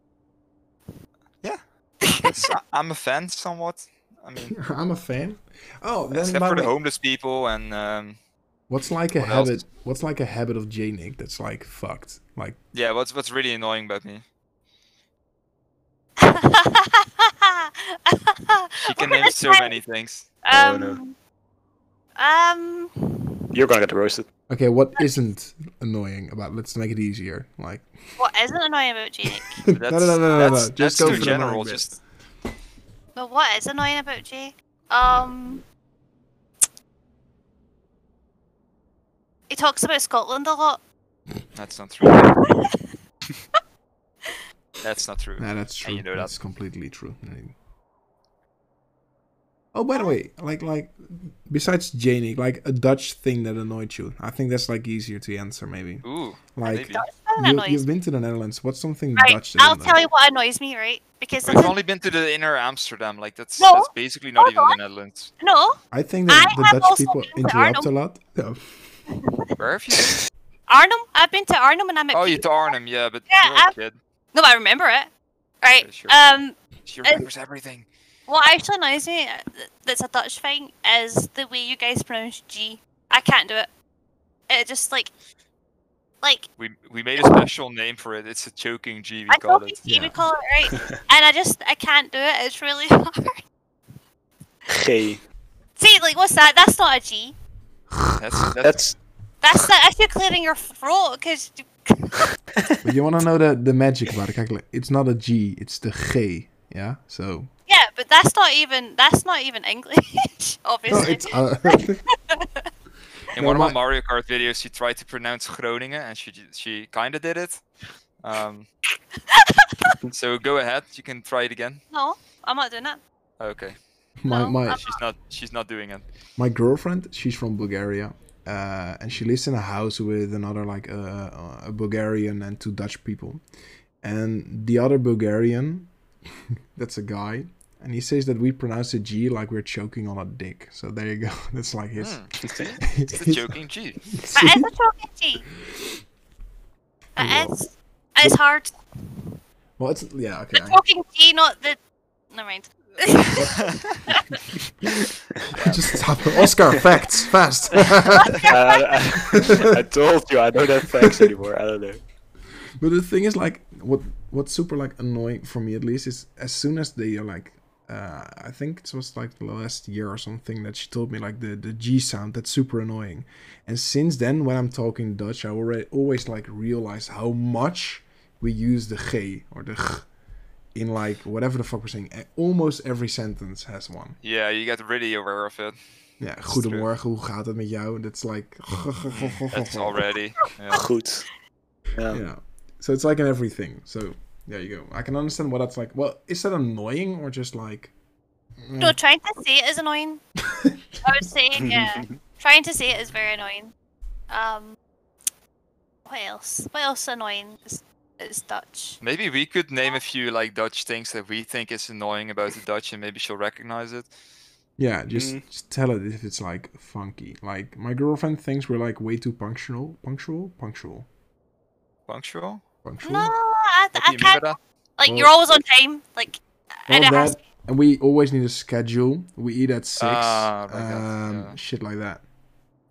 S1: it's- I- I'm a fan, somewhat. I mean,
S3: I'm a fan. Oh, then
S1: except
S3: by
S1: for the
S3: the way,
S1: homeless people and um,
S3: what's like a
S1: What else?
S3: habit? What's like a habit of J Nick that's like fucked? Like
S1: yeah. What's what's really annoying about me? She can name so many things.
S4: Oh,
S2: Um,
S4: no.
S2: um,
S4: You're gonna get roasted.
S3: okay, what isn't annoying about? Let's make it easier. Like
S2: what isn't annoying about Jake?
S3: no,
S1: But
S3: no,
S1: That's,
S3: no, no, no, no,
S1: that's,
S3: Just
S1: that's
S3: go
S1: too
S3: for the
S1: general.
S3: annoying bit.
S1: Just
S2: But what is annoying about Jay? Um, he talks about Scotland a lot.
S1: That's not true. That's not true.
S3: Nah, that's
S1: And
S3: true.
S1: you know that.
S3: that's completely true. Nah. Oh, by the way, like like besides Janik, like a Dutch thing that annoyed you. I think that's like easier to answer maybe.
S1: Ooh,
S3: Like
S1: maybe.
S2: That
S3: you,
S2: annoys
S3: you've been to the Netherlands. What's something
S2: Right,
S3: Dutch? that
S2: I'll
S3: annoyed
S2: tell you what annoys me, right? Because
S1: We've
S2: it's a-
S1: only been to the inner Amsterdam. Like that's
S2: No, Oh,
S1: that's basically not
S2: hold
S1: even
S2: on.
S1: the Netherlands.
S2: no,
S3: I think
S2: I
S3: that the
S2: have
S3: Dutch
S2: also
S3: people
S2: been to
S3: interrupt a
S2: Arnhem.
S3: lot. Yeah.
S1: Where have you? Been?
S2: Arnhem. I've been to Arnhem and I met.
S1: Oh, you
S2: people.
S1: to Arnhem, yeah, but
S2: Yeah,
S1: you're a
S2: I've-
S1: kid.
S2: No, I remember it. Right.
S1: Yeah, sure.
S2: Um,
S1: She remembers everything.
S2: what actually annoys me uh, th- that's a Dutch thing is the way you guys pronounce G. I can't do it. It just like, like
S1: We we made a special name for it. It's a choking G. We
S2: I
S1: call
S2: told you
S1: it.
S2: G,
S3: yeah.
S2: we call it right, and I just I can't do it. It's really hard.
S4: G.
S2: See, like what's that? That's not a G.
S1: That's that's
S4: That's
S2: That's that. That's you clearing your throat because
S3: But you want to know the, the magic about it? Kijk, like, it's not a G, it's the G. Yeah, so
S2: yeah, but that's not even that's not even English,
S3: no,
S2: obviously.
S3: it's uh,
S1: in
S3: no,
S1: one of
S3: my-
S1: my Mario Kart videos. She tried to pronounce Groningen, and she j- she kind of did it. Um, so go ahead. You can try it again.
S2: No, I'm not doing that.
S1: Okay,
S3: my
S2: No,
S3: my
S2: I'm
S1: she's not she's not doing it.
S3: my girlfriend. She's from Bulgaria, uh, and she lives in a house with another like uh, a Bulgarian and two Dutch people, and the other Bulgarian, that's a guy, and he says that we pronounce the G like we're choking on a dick. So there you go. That's like his.
S1: Hmm, see? It's the choking G.
S2: But it's a choking G.
S3: I
S2: But it's it's hard.
S3: Well, it's yeah okay. I-
S2: Talking G, not the. Never mind.
S3: Just stop. Oscar facts fast.
S4: uh, I, I told you I don't have facts anymore. I don't know.
S3: But the thing is, like, what what's super like annoying for me at least is as soon as they are like, uh, I think it was like the last year or something that she told me like the the G sound that's super annoying, and since then when I'm talking Dutch, I already always like realize how much we use the G or the G in like whatever the fuck we're saying. E- Almost every sentence has one.
S1: Yeah, you get really aware of it.
S3: Yeah, goedemorgen, hoe gaat het met jou? That's like.
S1: That's already. Yeah.
S4: Goed. Yeah.
S3: Yeah. So it's like in everything. So there you go. I can understand what that's like. Well, is that annoying or just like
S2: No, trying to say it is annoying. I would say, yeah. trying to say it is very annoying. Um, what else? What else annoying? It's, it's Dutch.
S1: Maybe we could name a few like Dutch things that we think is annoying about the Dutch, and maybe she'll recognize it.
S3: yeah, just,
S4: Mm.
S3: just tell it if it's like funky. Like my girlfriend thinks we're like way too punctual, punctual, punctual,
S1: Punctual?
S3: punctual.
S2: No, I,
S1: What do
S2: I
S1: you mean by
S2: can't.
S1: that?
S2: Like
S3: Well-
S2: you're always on time. Like, and
S3: All
S2: it has.
S3: that, and we always need a schedule. We eat at six,
S1: Ah, like that,
S3: um,
S1: yeah.
S3: shit like that.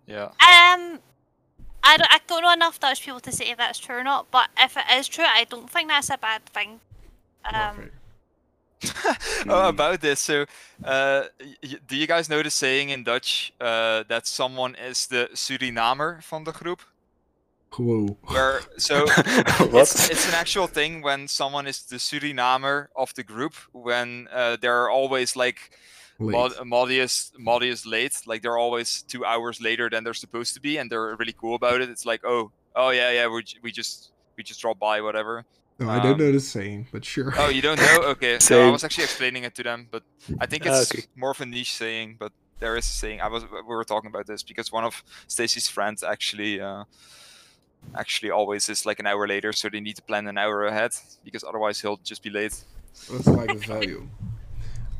S1: Yeah.
S2: Um, I don't. I don't know enough Dutch people to say if that's true or not. But if it is true, I don't think that's a bad thing. Um,
S3: Perfect.
S1: Oh,
S4: Mm.
S1: about this. So, uh, y- y- do you guys know the saying in Dutch uh, that someone is the Surinamer van de groep?
S3: Whoa.
S1: Where so it's,
S4: what?
S1: it's an actual thing when someone is the Surinamer of the group when uh, they're always like
S3: Late.
S1: mod- Modius, Modius late. Like they're always two hours later than they're supposed to be, and they're really cool about it. It's like, oh, oh yeah, yeah, we, j- we just we just drop by, whatever.
S3: no, I don't
S1: um,
S3: know the saying, but sure.
S1: Oh, you don't know? Okay. So I
S4: Same.
S1: was actually explaining it to them, but I think
S4: Ah,
S1: it's
S4: okay.
S1: more of a niche saying. But there is a saying. I was we were talking about this because one of Stacy's friends actually uh, actually always is like an hour later, so they need to plan an hour ahead because otherwise he'll just be late.
S3: That's like the value.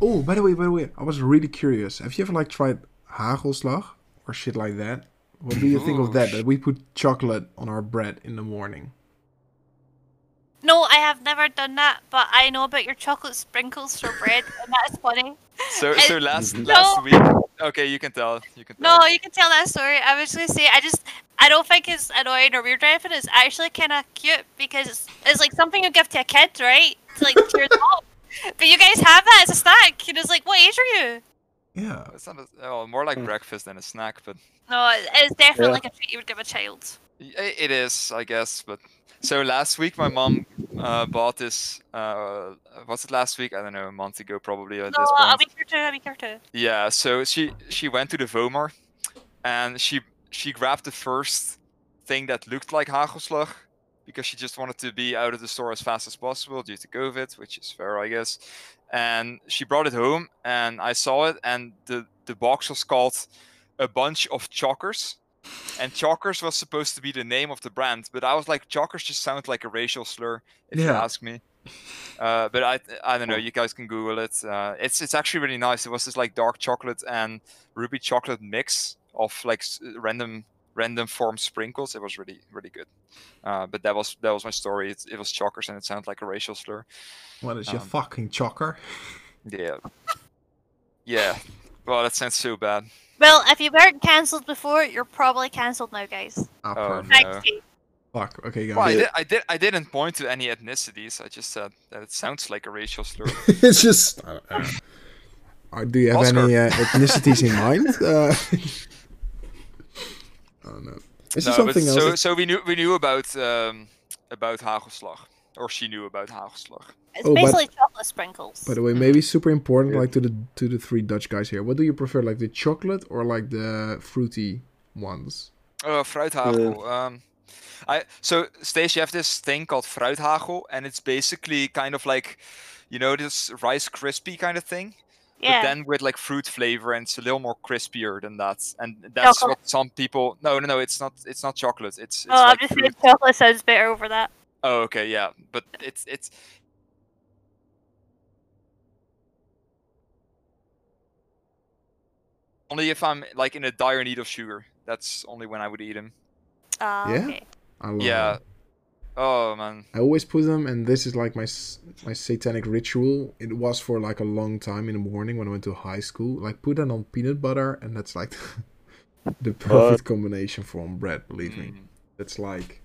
S3: Oh, by the way, by the way, I was really curious. Have you ever like tried hagelslag or shit like that? What do you think of
S1: Ooh,
S3: that?
S1: sh-
S3: That we put chocolate on our bread in the morning.
S2: No, I have never done that, but I know about your chocolate sprinkles for bread, and that's funny.
S1: So
S2: I-
S1: so last
S4: No.
S1: last week. Okay, you can tell. You can tell.
S2: No, you can tell that story. I was gonna say, I just, I don't think it's annoying or weird or anything. It's actually kind of cute because it's, it's like something you give to a kid, right? To like cheer them up. But you guys have that as a snack, and it's like, what age are you?
S3: Yeah.
S1: It's not a, oh, more like
S4: Mm.
S1: breakfast than a snack, but
S2: No, it- it's definitely
S4: Yeah.
S2: like a treat you would give a child.
S1: I- It is, I guess, but so last week my mom uh, bought this. Uh, was it last week? I don't know, a month ago probably. At
S2: No,
S1: this
S2: a
S1: point.
S2: week or two, a week or two.
S1: Yeah, so she she went to the Vomar, and she she grabbed the first thing that looked like Hagelslag because she just wanted to be out of the store as fast as possible due to COVID, which is fair, I guess. And she brought it home, and I saw it, and the the box was called a bunch of chalkers. And chalkers was supposed to be the name of the brand, but I was like, chalkers just sounds like a racial slur, if you
S3: Yeah.
S1: ask me. Uh, but I I don't know. You guys can Google it. Uh, it's it's actually really nice. It was this like dark chocolate and ruby chocolate mix of like s- random random form sprinkles. It was really really good. Uh, but that was that was my story. It, it was chalkers and it sounded like a racial slur.
S3: What is your
S1: Um,
S3: fucking chocker?
S1: Yeah. Yeah. Well, that sounds so bad.
S2: Well, if you weren't cancelled before, you're probably cancelled now, guys.
S3: Ah,
S1: Oh,
S3: perfect.
S2: Thank
S1: No.
S2: you.
S3: Fuck. Okay, guys.
S1: Well, I,
S4: Yeah.
S1: did, I did I didn't point to any ethnicities. I just said that it sounds like a racial slur.
S3: it's just. I don't know. Uh, do you have
S1: Oscar.
S3: any uh, ethnicities in mind? Uh, I don't know. Is there
S1: no, but
S3: something else?
S1: so so we knew we knew about um, about Hagelslag, or she knew about Hagelslag.
S2: It's
S3: Oh, but-
S2: basically chocolate sprinkles.
S3: By the way, maybe
S1: Uh-huh.
S3: super important, like to the to the three Dutch guys here. What do you prefer, like the chocolate or like the fruity ones?
S1: Oh, fruithagel. um, I so Stace, you have this thing called fruithagel, and it's basically kind of like, you know, this Rice crispy kind of thing,
S2: yeah.
S1: but then with like fruit flavor, and it's a little more crispier than that. And that's
S2: Chocolate.
S1: what some people. No, no, no. It's not. It's not chocolate. It's. it's
S2: oh, I'm
S1: like
S2: just
S1: fruit.
S2: saying chocolate sounds better over that.
S1: Oh, okay, yeah, but it's it's. Only if I'm like in a dire need of sugar. That's only when I would eat them.
S2: Uh,
S3: Yeah?
S2: Okay.
S3: I love.
S1: Yeah.
S3: them.
S1: Oh man.
S3: I always put them, and this is like my s- my satanic ritual. It was for like a long time in the morning when I went to high school. Like put that on peanut butter, and that's like the
S4: Uh.
S3: perfect combination for on bread. Believe me,
S1: Mm.
S3: it's like.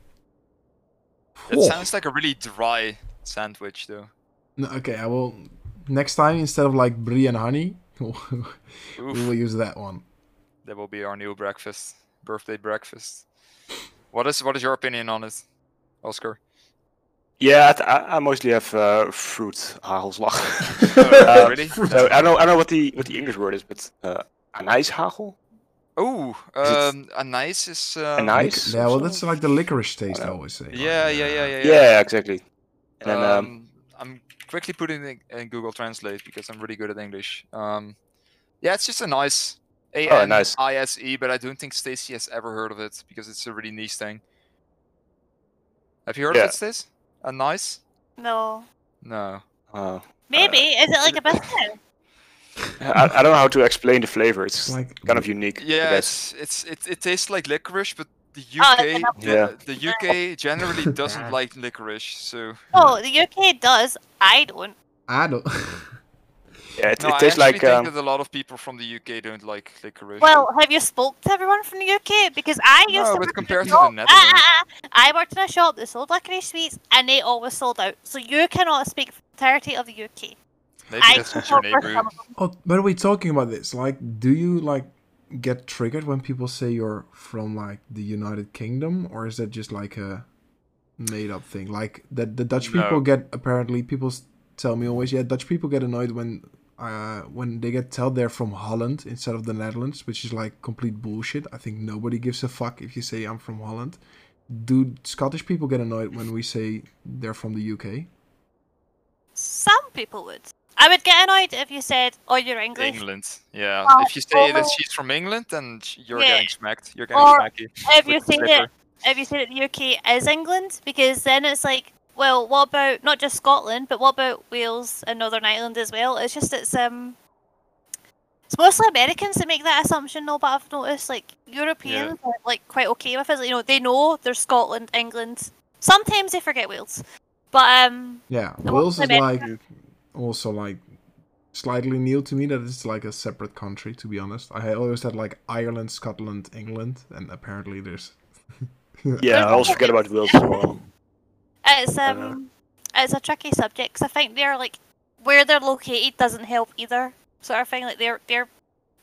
S1: That
S3: Oh.
S1: sounds like a really dry sandwich, though.
S3: No, okay, I will. Next time, instead of like brie and honey, we
S1: Oof,
S3: will use that one.
S1: that will be our new breakfast, birthday breakfast. What is what is your opinion on it, Oscar?
S4: Yeah, I, th- I, I mostly have uh, fruit hagelslag.
S1: Oh,
S4: Uh,
S1: really?
S4: so I don't know I don't know what the what the English word is, but uh, anijshagel.
S1: Oh,
S4: it's-
S1: um, a nice is uh,
S4: Anise?
S3: Lic-
S4: Ice or
S3: yeah, well,
S4: something?
S3: that's like the licorice taste. I
S4: Yeah.
S3: always say. like,
S1: Yeah, yeah,
S3: uh,
S1: yeah, yeah,
S4: Yeah,
S1: yeah.
S4: exactly. And then, um,
S1: Um, I'm quickly putting it in, in Google Translate because I'm really good at English. Um, yeah, it's just a nice A
S4: Oh,
S1: N
S4: nice.
S1: I S E, but I don't think Stacy has ever heard of it because it's a really niche thing. Have you heard
S4: Yeah.
S1: of it, Stacy? A nice?
S2: No.
S1: No.
S4: uh,
S2: Maybe. Is it like a biscuit?
S4: I, I don't know how to explain the flavor. It's
S3: It's like
S4: kind of unique. I
S1: Yeah,
S4: guess.
S1: it's, it's it, it tastes like licorice, but the
S2: Oh,
S1: UK
S2: it's an apple.
S4: Yeah.
S1: the UK generally doesn't like licorice. So
S2: Oh, the UK does. I don't.
S3: I don't.
S4: yeah, it,
S1: no,
S4: it
S1: I
S4: tastes
S1: actually
S4: like
S1: think
S4: um,
S1: that a lot of people from the UK don't like licorice.
S2: Well, have you spoke to everyone from the UK? Because I used
S1: No,
S2: to work
S1: but
S2: in a
S1: compared to the
S2: shop-
S1: Netherlands-
S2: Ah, ah, ah. I worked in a shop that sold licorice sweets, and they always sold out. So you cannot speak for the entirety of the UK.
S1: Maybe
S2: I
S1: that's just your
S2: spoke for
S1: neighborhood.
S2: some of them.
S3: oh, but we talking about this. Like, do you like get triggered when people say you're from like the United Kingdom, or is that just like a made up thing? Like that the Dutch
S1: No.
S3: people get apparently people s- tell me always. Yeah, Dutch people get annoyed when. Uh, when they get told they're from Holland instead of the Netherlands, which is like complete bullshit. I think nobody gives a fuck if you say I'm from Holland. Do Scottish people get annoyed when we say they're from the UK?
S2: Some people would. I would get annoyed if you said, "Oh, you're English."
S1: England. Yeah.
S2: Well,
S1: if you say that
S2: well-
S1: she's from England, then sh- you're
S2: Yeah.
S1: getting smacked. You're getting
S2: Or
S1: smacky.
S2: If
S1: with
S2: you
S1: the
S2: say
S1: slipper.
S2: that, if you say that the UK is England, because then it's like, well, what about not just Scotland, but what about Wales and Northern Ireland as well? It's just it's um, it's mostly Americans that make that assumption. No, but I've noticed like Europeans are like quite okay with it. Like, you know, they know there's Scotland, England. Sometimes they forget Wales, but um,
S3: Yeah,
S2: No,
S3: Wales
S2: I
S3: is
S2: meant-
S3: like also like slightly new to me that it's like a separate country. To be honest, I had always had like Ireland, Scotland, England, and apparently there's
S4: yeah. I always forget about Wales as well.
S2: it's
S4: I know.
S2: um, it's a tricky subject 'cause I think they're like where they're located doesn't help either, sort of thing. Like they're they're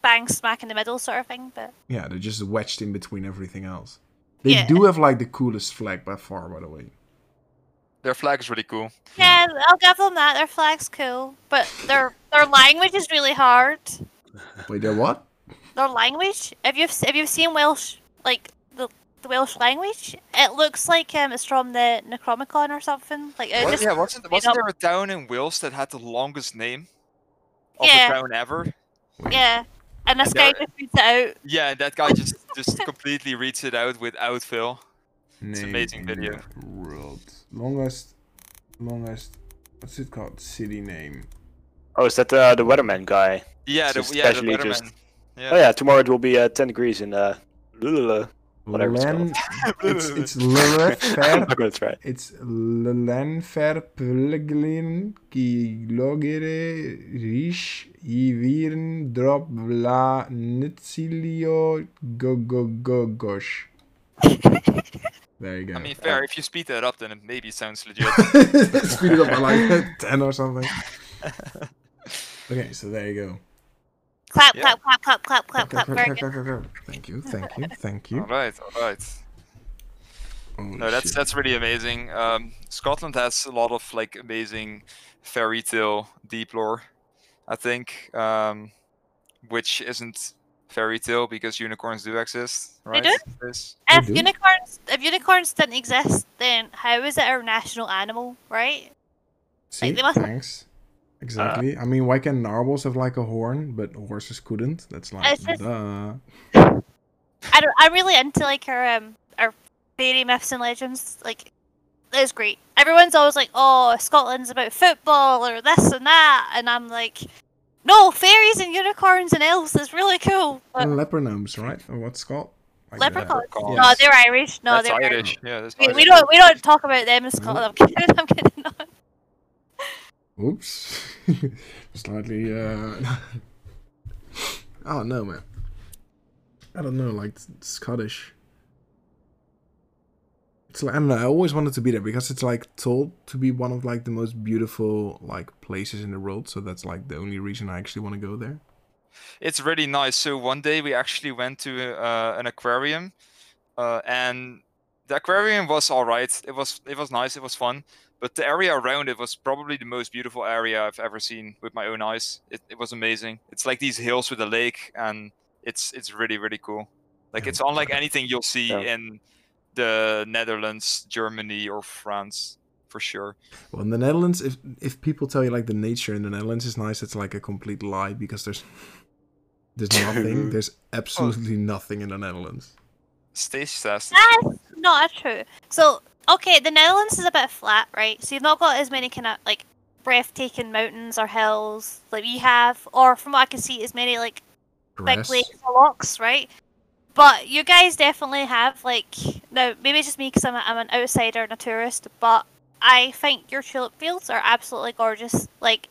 S2: bang smack in the middle, sort of thing, but.
S3: yeah, they're just wedged in between everything else. They
S2: Yeah.
S3: do have like the coolest flag by far, by the way.
S1: Their flag is really cool.
S2: Yeah, I'll give them that. Their flag's cool, but their their language is really hard.
S3: Wait, they're what?
S2: Their language. If you've if you've seen Welsh, like the the Welsh language, it looks like um it's from the Necromicon or something. Like it
S1: What-
S2: just
S1: yeah, wasn't,
S2: made
S1: wasn't
S2: up.
S1: there a town in Wales that had the longest name of
S2: Yeah.
S1: a town ever?
S2: yeah. And this
S1: And
S2: guy
S1: they're-
S2: just reads it out.
S1: Yeah, and that guy just just completely reads it out without fail.
S3: It's
S1: an amazing video.
S3: World longest, longest. What's it called? City name.
S4: Oh, is that uh, the weatherman guy?
S1: Yeah, the,
S4: Just
S1: yeah, the
S4: casually
S1: weatherman.
S4: just-
S1: Yeah.
S4: Oh yeah, tomorrow it will be uh, 10 degrees in uh, Lulula. Whatever it's
S3: Len. It's it's Lenfer-
S4: I'm not gonna try.
S3: It's Lenferpleglin Kilogere Rish Iviren Drop Vla Nitsilio Gogogogosh. There you go.
S1: I mean, fair. If you speed that up, then it maybe sounds legit.
S3: Hmm? Speed it up by like 10 or something. Okay, so there you go.
S2: Clap,
S1: Yeah.
S2: clap, clap, clap, clap, clap,
S3: Clap,
S2: clap.
S3: clap,
S2: Very
S3: clap,
S2: good.
S3: clap, clap, clap. Thank you, thank you, thank
S1: all
S3: you.
S1: right, all right.
S3: Holy
S1: No, that's
S3: shit.
S1: that's really amazing. Um, Scotland has a lot of like amazing fairy tale deep lore, I think, um, which isn't fairy tale because unicorns do exist, right?
S2: do?
S1: Yes.
S3: They
S2: If
S3: do.
S2: unicorns if unicorns didn't exist, then how is it our national animal, right?
S3: See,
S2: they must-
S3: thanks.
S1: Uh.
S3: Exactly. I mean, why can narwhals have like a horn, but horses couldn't? That's like,
S2: It's just-
S3: duh.
S2: I don't, I'm really into like our um our fairy myths and legends. Like, it's great. Everyone's always like, "Oh, Scotland's about football or this and that," and I'm like, "No, fairies and unicorns and elves is really cool." But
S3: And leper gnomes, right? Or what's it called? Like the-
S2: leprechauns?
S1: leprechauns.
S2: No, they're Irish. No,
S1: that's
S2: they're Irish.
S1: Irish. Yeah, that's
S2: We,
S1: Irish.
S2: we don't we don't talk about them in Scotland. I'm kidding. I'm kidding. No.
S3: Oops. Slightly. Uh... oh no, man. I don't know, like Scottish. It's like I don't know. I always wanted to be there because it's like told to be one of like the most beautiful like places in the world. So that's like the only reason I actually want to go there.
S1: it's really nice. So one day we actually went to uh, an aquarium, uh, and the aquarium was all right. It was it was nice. It was fun. But the area around it was probably the most beautiful area I've ever seen with my own eyes. It, it was amazing. It's like these hills with a lake, and it's it's really really cool. Like
S3: Yeah.
S1: it's unlike anything you'll see
S4: Yeah.
S1: in the Netherlands, Germany, or France for sure.
S3: Well, in the Netherlands, if if people tell you like the nature in the Netherlands is nice, it's like a complete lie because there's there's nothing. there's absolutely nothing in the Netherlands.
S1: Stage test.
S2: Ah, That's not true. So okay, the Netherlands is a bit flat, right? So you've not got as many kind of like breathtaking mountains or hills like we have, or from what I can see, as many like big
S3: Grass.
S2: lakes or locks, right? But you guys definitely have like now maybe it's just me because I'm, a, I'm an outsider and a tourist, but I think your tulip fields are absolutely gorgeous. Like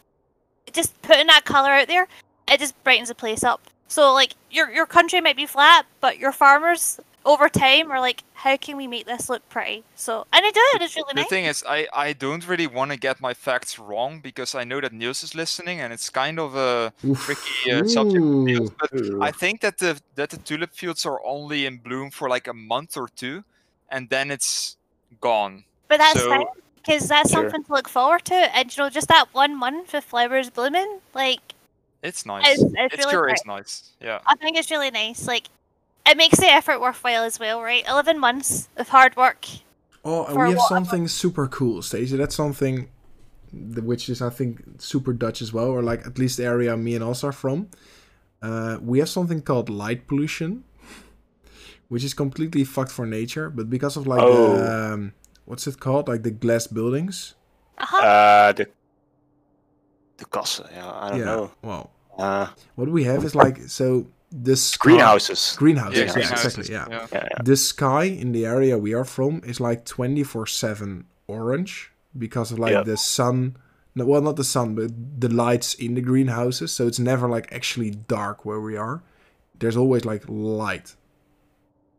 S2: just putting that color out there, it just brightens the place up. So like your your country might be flat, but your farmers over time are like, how can we make this look pretty? So and they do it. It's really
S1: The
S2: nice.
S1: thing is, I, I don't really want to get my facts wrong because I know that Niels is listening, and it's kind of a
S3: Oof.
S1: tricky uh, subject. with Niels,
S3: Ooh.
S1: but
S4: Ooh.
S1: I think that the that the tulip fields are only in bloom for like a month or two, and then it's gone.
S2: But that's
S1: So-
S2: fine because that's
S4: Sure.
S2: something to look forward to. And you know, just that one month with flowers blooming, like
S1: It's nice.
S2: it's, it's, really
S1: sure
S2: pretty.
S1: is nice. Yeah.
S2: I think it's really nice. Like, it makes the effort worthwhile as well, right? Eleven months of hard work.
S3: Oh, and
S2: for a
S3: we have
S2: while.
S3: something super cool, Stacey. That's something th- which is, I think, super Dutch as well, or like at least the area me and us are from. Uh, we have something called light pollution, which is completely fucked for nature, but because of like the,
S4: Oh.
S3: um, what's it called? Like the glass buildings.
S2: Uh-huh.
S4: Uh, the the kassen, yeah, I don't
S3: yeah.
S4: know.
S3: Well,
S4: Uh,
S3: what we have is like, so the sky-
S4: greenhouses.
S3: Greenhouses,
S4: Yeah,
S3: yeah,
S4: greenhouses,
S3: exactly, yeah.
S1: yeah.
S3: the sky in the area we are from is like 24 7 orange because of like
S4: Yeah.
S3: the sun no, well not the sun but the lights in the greenhouses so it's never like actually dark where we are there's always like light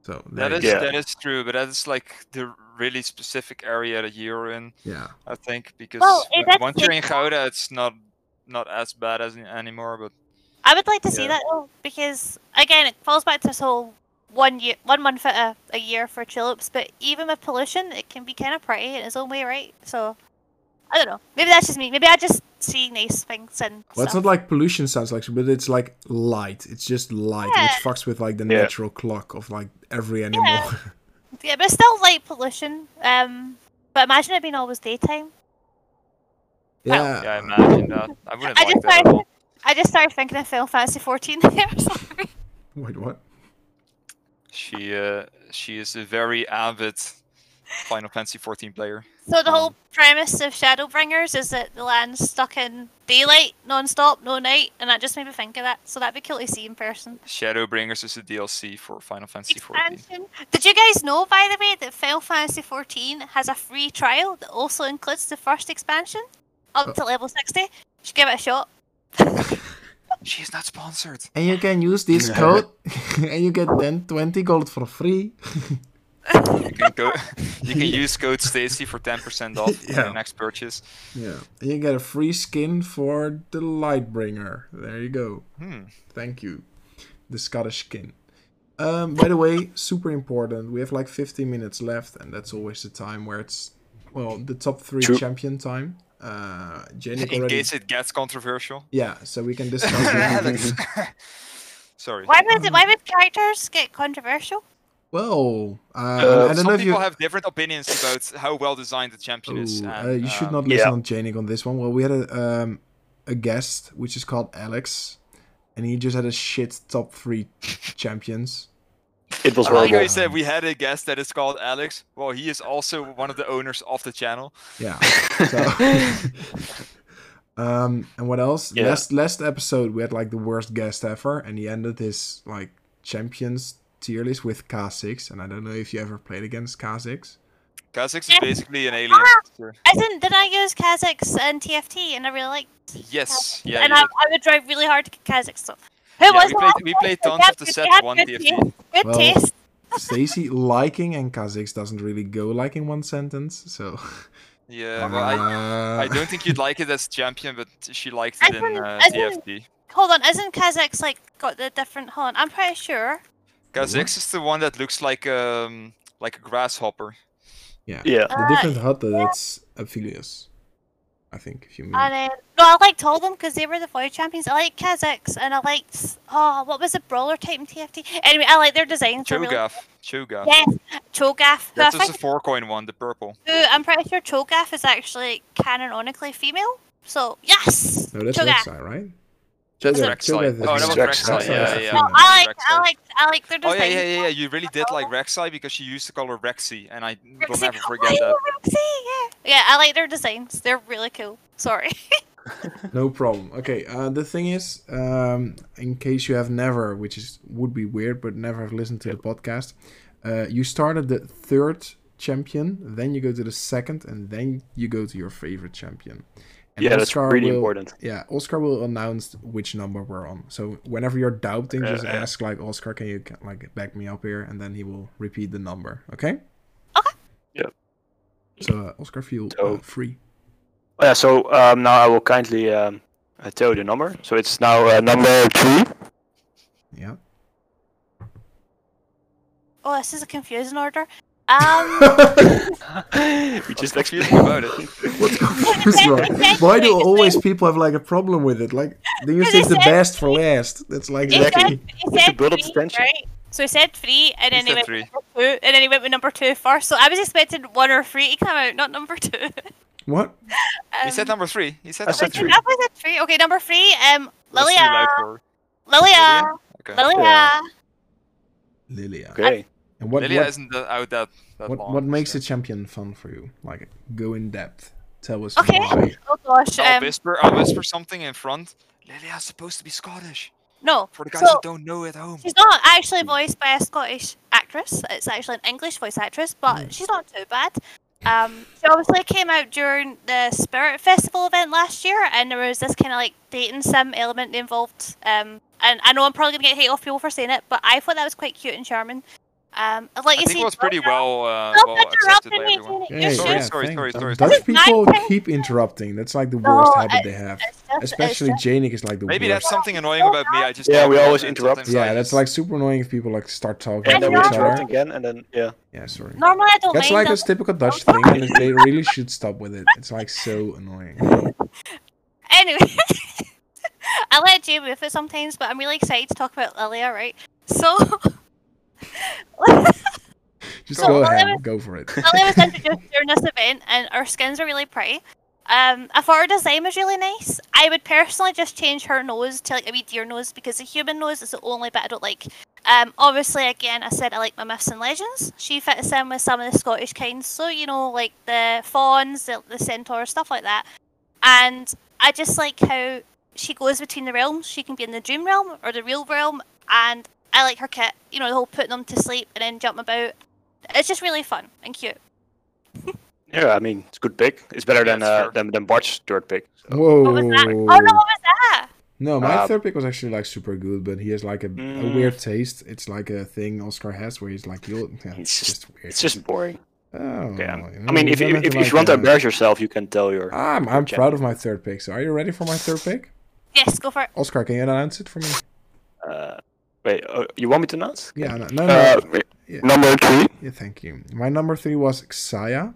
S3: so there
S1: That is
S3: you
S4: Yeah.
S1: that is true, but that is like the really specific area that you're in,
S3: go. yeah
S1: I think, because
S2: Well, it
S1: w-
S2: does
S1: once you're in
S2: take-
S1: Gouda, it's not not as bad as anymore. But
S2: I would like to see
S1: Yeah.
S2: that though, because again, it falls back to this whole one year, one month a, a year for tulips, but even with pollution, it can be kind of pretty in its own way, right? So, I don't know. Maybe that's just me. Maybe I just see nice things and.
S3: Well, it's
S2: stuff.
S3: not like pollution sounds like, but it's like light. It's just light, which fucks with like the
S4: Yeah.
S3: natural clock of like every animal.
S2: Yeah, but it's still light pollution. Um, but imagine it being always daytime.
S3: yeah.
S1: Yeah, I imagine that. I wouldn't
S2: I
S1: like
S2: just
S1: that at
S2: found-
S1: all.
S2: I just started thinking of Final Fantasy 14 there. Sorry.
S3: Wait, what?
S1: She uh, she is a very avid Final Fantasy 14 player.
S2: So the whole
S1: Um,
S2: premise of Shadowbringers is that the land's stuck in daylight, non-stop, no night, and that just made me think of that. So that'd be cool to see in person.
S1: Shadowbringers is a DLC for Final Fantasy 14.
S2: Expansion. Did you guys know, by the way, that Final Fantasy 14 has a free trial that also includes the first expansion up
S3: Oh.
S2: to level 60? You should give it a shot.
S1: She is not sponsored.
S3: And you can use this code, and you get 10, 20 gold for free.
S1: You can go. you can use code Stacy for 10% off on
S3: Yeah.
S1: your next purchase.
S3: Yeah, and you get a free skin for the Lightbringer. There you go.
S1: Hmm.
S3: Thank you. The Scottish skin. Um, by the way, super important. We have like 15 minutes left, and that's always the time where it's well the top three
S4: True.
S3: champion time. Uh, Janik
S1: In
S3: already.
S1: case it gets controversial.
S3: Yeah, so we can discuss. it.
S1: Alex. Sorry.
S2: Why would, why would characters get controversial?
S3: well, uh, I don't
S1: Some
S3: know if
S1: people
S3: you.
S1: have different opinions about how well designed the champion is.
S3: Ooh,
S1: and,
S3: uh, you should
S1: um,
S3: not listen
S4: Yeah.
S3: on Janik on this one. Well, we had a um, a guest which is called Alex, and he just had a shit top three champions.
S4: It was
S1: I like how
S4: horrible.
S1: you said we had a guest that is called Alex. Well, he is also one of the owners of the channel.
S3: Yeah. So, um, and what else?
S4: Yeah.
S3: Last last episode we had like the worst guest ever, and he ended his like champions tier list with K6, and I don't know if you ever played against K6.
S1: Kha'Zix is
S2: Yeah.
S1: basically an alien.
S2: Isn't, did I use Kha'Zix and TFT and I really liked
S1: Yes. Yeah.
S2: and
S1: you
S2: I,
S1: did.
S2: I would try really hard to get Kazakh stuff. Who
S1: Yeah,
S2: was
S1: we
S2: the
S1: played,
S2: last
S1: we
S2: one?
S1: played
S2: They
S1: Tons of
S2: had
S1: the
S2: good-
S1: Set
S2: they had
S1: 1
S2: good taste-
S1: DFT.
S2: Good
S3: Well-
S2: taste.
S3: Stacy liking and K6 doesn't really go like in one sentence, so.
S1: Yeah, well, I, I
S3: Uh,
S1: don't think you'd like it as champion, but she liked
S2: I
S1: it in
S2: don't-
S1: uh,
S2: I don't-
S1: DFT.
S2: Hold on, isn't Kazakh's like got the different? Hold on, I'm pretty sure.
S1: Kha'Zix is the one that looks like um like a grasshopper.
S4: Yeah.
S3: The different hut that's Aphelios, I think, if you
S1: Hmm.
S3: mean.
S2: And uh, no, I liked all of them because they were the void champions. I liked Kazakh's and I liked oh, what was the brawler type in TFT? Anyway, I like their designs. they're Really,
S1: Cho'Gath. Cho'Gath.
S2: yes, Cho'Gath. Who I
S1: That's just a
S2: think,
S1: four coin one, the purple.
S2: who, I'm pretty sure Cho'Gath is actually canonically female. So yes,
S3: No, that's
S2: Cho'Gath.
S3: Rek'Sai, right?
S2: Is it-
S3: Cho'Gath-
S1: Rek'Sai.
S3: Cho'Gath
S1: Oh, that
S3: is-
S1: was
S4: Rek'Sai,
S1: Rek'Sai. Yeah,
S4: yeah.
S1: yeah.
S2: No, I like, I
S1: Rek'Sai.
S2: like, I like their
S1: Oh
S2: designs.
S1: yeah, yeah, yeah, yeah. You really did like Rek'Sai because she used the color Rexy, and I will
S2: Roxy-
S1: never
S2: Oh,
S1: forget
S2: yeah,
S1: that.
S2: Roxy, yeah. Yeah, I like their designs. They're really cool. Sorry.
S3: No problem. Okay. Uh, the thing is, um, in case you have never, which is would be weird, but never have listened to the podcast, uh, you start at the third champion, then you go to the second, and then you go to your favorite champion. And
S4: Yeah, that's really
S3: will-
S4: important.
S3: Yeah, Oscar will announce which number we're on. So whenever you're doubting, just
S4: Yeah, yeah.
S3: ask like Oscar, can you ca- like back me up here, and then he will repeat the number. Okay.
S2: Okay.
S4: Yep.
S3: So uh, Oscar, feel uh,
S4: So-
S3: free.
S4: Oh, yeah, so um, now I will kindly um, uh, tell you the number. So it's now uh, number three.
S3: Yeah.
S2: Oh, this is a confusing order. Um,
S4: we just
S1: confusing
S4: explained
S1: about it?
S3: What's confusing? right? Why do always people have like a problem with it? Like, do you
S2: Because
S3: think
S2: it
S3: the
S2: says-
S3: best for last? That's like
S2: he
S4: Exactly.
S2: said, he said
S4: build up
S2: three,
S4: the tension.
S2: right? So he said three, and
S1: He
S2: then he,
S1: said
S2: went
S1: three.
S2: with number two, and then he went with number two first. So I was expecting one or three to come out, not number two.
S3: what?
S2: Um,
S1: He said number three. He said
S4: I
S1: number
S4: said
S1: three.
S4: three.
S2: I was at three. Okay, number three. Um,
S1: That's too
S2: Lilia,
S1: loud for her.
S2: Lilia,
S1: Okay.
S2: Lilia.
S4: Yeah.
S3: Lilia.
S4: Okay.
S3: And what
S1: Lilia
S3: what,
S1: isn't that- out that, that
S3: what,
S1: long.
S3: what makes
S1: so.
S3: a champion fun for you? Like, go in depth. Tell us
S2: Okay.
S3: why.
S2: Oh gosh.
S1: I'll
S2: Um,
S1: whisper. I'll whisper something in front. Lilia's supposed to be Scottish.
S2: no.
S1: For the guys
S2: So
S1: that don't know at home.
S2: she's not actually voiced by a Scottish actress. It's actually an English voice actress, but she's not too bad. Um, she obviously came out during the Spirit Festival event last year, and there was this kind of like dating sim element involved. Um, and I know I'm probably gonna get hate off people for saying it, but I thought that was quite cute and charming. Um, I'd like
S1: I
S2: you
S1: think
S2: see.
S1: it was pretty well, uh,
S2: Stop
S1: well accepted
S2: interrupting
S1: by
S2: me,
S1: everyone.
S2: Janet.
S3: Yeah,
S2: You're
S1: Sorry,
S3: yeah,
S2: just-
S1: sorry,
S3: thanks.
S1: sorry,
S3: Um,
S1: sorry,
S3: Dutch
S2: sorry.
S3: people
S2: Nice.
S3: keep interrupting. That's like the
S2: No,
S3: worst
S2: I-
S3: habit they have.
S2: it's just- it's
S3: Especially
S2: just-
S3: Janik is like the
S1: Maybe
S3: worst.
S1: that's something annoying about me. I just
S4: Yeah,
S1: don't
S4: we
S1: know,
S4: always
S1: and
S4: interrupt.
S1: sometimes I
S3: yeah, that's
S1: just-
S3: like super annoying if people like start talking to
S4: And then
S2: And
S4: we
S2: you're
S3: each
S4: interrupt
S3: other.
S2: interrupting.
S4: again, and then yeah.
S3: Yeah, sorry.
S2: Normally I don't
S3: That's
S2: mind
S3: like a
S2: them.
S3: typical Dutch thing, and they really should stop with it. It's like so annoying.
S2: Anyway, I let Jamie with it sometimes, but I'm really excited to talk about Lilia, right? So,
S3: Just
S2: So
S3: go
S2: all I
S3: ahead,
S2: was-
S3: go for it.
S2: Lilia was introduced during this event, and her skins are really pretty. Um, I thought her design was really nice. I would personally just change her nose to like a wee deer nose because the human nose is the only bit I don't like. Um, obviously, again, I said I like my myths and legends. She fits in with some of the Scottish kinds, so you know, like the fawns, the, the centaurs, stuff like that. And I just like how she goes between the realms. She can be in the dream realm or the real realm, and I like her kit. You know, the whole putting them to sleep and then jumping about. It's just really fun and cute.
S4: Yeah, I mean it's a good pick. It's better
S1: Yeah,
S4: than
S1: it's
S4: uh,
S1: fair.
S4: than than Bart's third pick. So.
S3: Whoa.
S2: What was that? Oh no, what was that?
S3: No, my
S4: Uh,
S3: third pick was actually like super good, but he has like a, a
S4: Mm.
S3: weird taste. It's like a thing Oscar has where he's like, you'll, yeah, it's
S4: It's just-
S3: just weird.
S4: It's just boring.
S3: Oh,
S4: Okay,
S3: you
S4: I
S3: know,
S4: mean, if
S3: don't
S4: if,
S3: have
S4: if, if
S3: like,
S4: you want to
S3: uh,
S4: embarrass yourself, you can tell your.
S3: I'm, I'm
S4: Jack.
S3: proud of my third pick. So, are you ready for my third pick?
S2: Yes, go for it.
S3: Oscar, can you announce it for me?
S4: Uh, wait, uh, you want me to announce?
S3: Yeah, no, no, no.
S4: Uh,
S3: yeah.
S4: Number three.
S3: yeah, thank you. My number three was Xayah.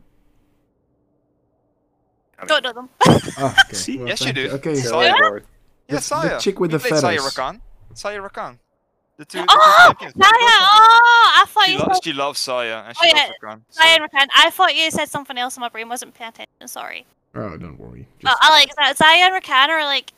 S2: Don't know them.
S3: Oh,
S4: See?
S1: Yes, you
S3: thank
S1: do.
S3: Okay,
S4: So,
S1: Yeah.
S4: or-
S1: Yeah,
S3: The- the
S1: Saya.
S3: chick with
S1: we
S3: the
S1: played Saya
S3: feathers.
S1: Rakan. Saya Rakan. The two. the two
S2: oh, Saya!
S1: champions.
S2: Oh, I thought
S1: She,
S2: you.
S1: loves,
S2: Said,
S1: she loves Saya and
S2: Oh,
S1: she
S2: yeah,
S1: loves Rakan. so-
S2: Saya and Rakan. I thought you said something else, and my brain wasn't paying attention. Sorry.
S3: Oh, don't worry.
S2: But I like that. Saya and Rakan are like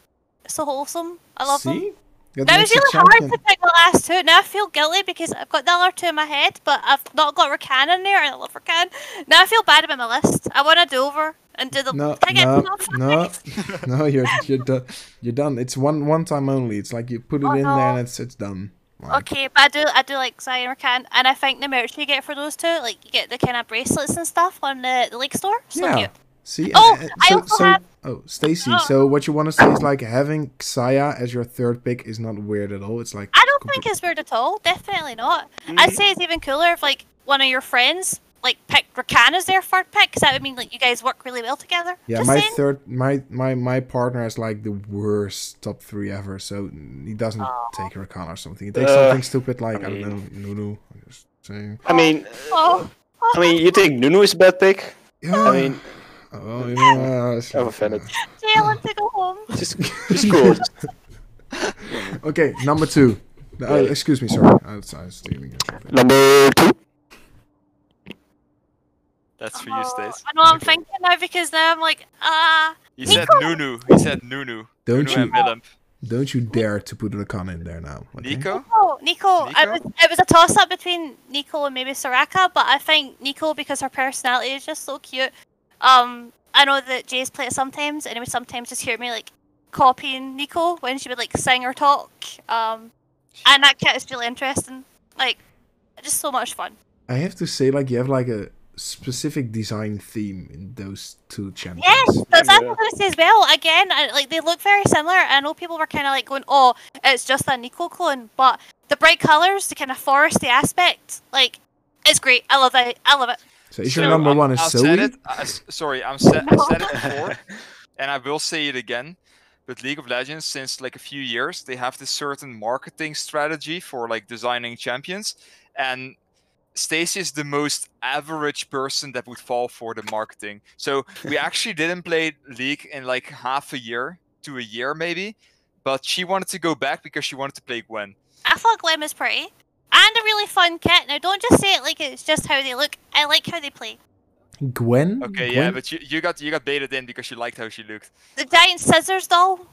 S2: so wholesome. I love
S3: See?
S2: them.
S3: That
S2: That was
S3: makes you
S2: really hard
S3: champion.
S2: to pick the last two. Now I feel guilty because I've got the other two in my head, but I've not got Rakan in there, and I love Rakan. Now I feel bad about my list. I want to do over and do the.
S3: No,
S2: Can I get
S3: no,
S2: two more
S3: no,
S2: facts?
S3: no. You're you're done. You're done. It's one one time only. It's like you put it
S2: Oh,
S3: in
S2: no.
S3: there and it's it's done. Like,
S2: Okay, but I do I do like Zion Rakan, and I think the merch you get for those two, like you get the kind of bracelets and stuff on the, the league store. So
S3: yeah.
S2: cute.
S3: See.
S2: Oh,
S3: and- and
S2: I
S3: so,
S2: also
S3: so,
S2: have-
S3: Oh, Stacy.
S2: Oh.
S3: So what you want to say is like having Xayah as your third pick is not weird at all. It's like
S2: I don't
S3: complete-
S2: think it's weird at all. Definitely not.
S3: Mm.
S2: I'd say it's even cooler if like one of your friends like picked Rakan as their third pick, because that would mean like you guys work really well together.
S3: Yeah,
S2: Just
S3: my
S2: saying.
S3: third, my my my partner has like the worst top three ever. So he doesn't take Rakan or something. He takes
S4: Uh,
S3: something stupid like I,
S4: mean-
S3: don't know, Nunu. I just say-
S4: I mean,
S2: Oh,
S4: I mean, you think Nunu is a bad pick?
S3: Yeah.
S4: I mean,
S3: Oh, yeah, it's
S4: I'm
S3: like,
S4: offended.
S2: Jalen to go home.
S4: Just, just cool.
S3: uh, Okay, number two. Uh,
S4: Yeah.
S3: excuse me, sorry. I was, I was stealing your topic.
S4: Number two.
S1: That's for you,
S2: Oh,
S1: Stace.
S2: I know. I'm thinking now because now I'm like, ah,
S1: He said Nunu. He said Nunu.
S3: Don't
S1: Nunu
S3: you
S1: and Willem.
S3: don't you dare to put Rakan in there now. okay?
S1: Nico?
S2: oh, Nico. It
S1: Nico?
S2: was it was a toss up between Nico and maybe Soraka, but I think Nico because her personality is just so cute. Um, I know that Jay's play it sometimes, and he would sometimes just hear me like copying Nico when she would like sing or talk. Um, and that kit is really interesting. Like, just so much fun.
S3: I have to say, like you have like a specific design theme in those two champions.
S2: Yes, that's what I
S4: Yeah.
S2: was going to say as well. Again, I, like they look very similar. I know people were kind of like going, "Oh, it's just a Nico clone," but the bright colors, the kind of foresty aspect, like it's great. I love it. I love it.
S3: So is
S1: So,
S3: your number
S1: I'm-
S3: one is
S1: I've
S3: Zoe?
S1: said it. I, s- sorry, I'm sa- I
S2: No.
S1: said it before, and I will say it again. But League of Legends, since like a few years, they have this certain marketing strategy for like designing champions, and Stacy is the most average person that would fall for the marketing. So we actually didn't play League in like half a year to a year maybe, but she wanted to go back because she wanted to play Gwen.
S2: I thought Glam is pretty and a really fun kit. Now, don't just say it like it's just how they look. I like how they play.
S3: Gwen.
S1: Okay,
S3: Gwen?
S1: yeah, but you, you got you got baited in because you liked how she looked.
S2: The giant scissors doll.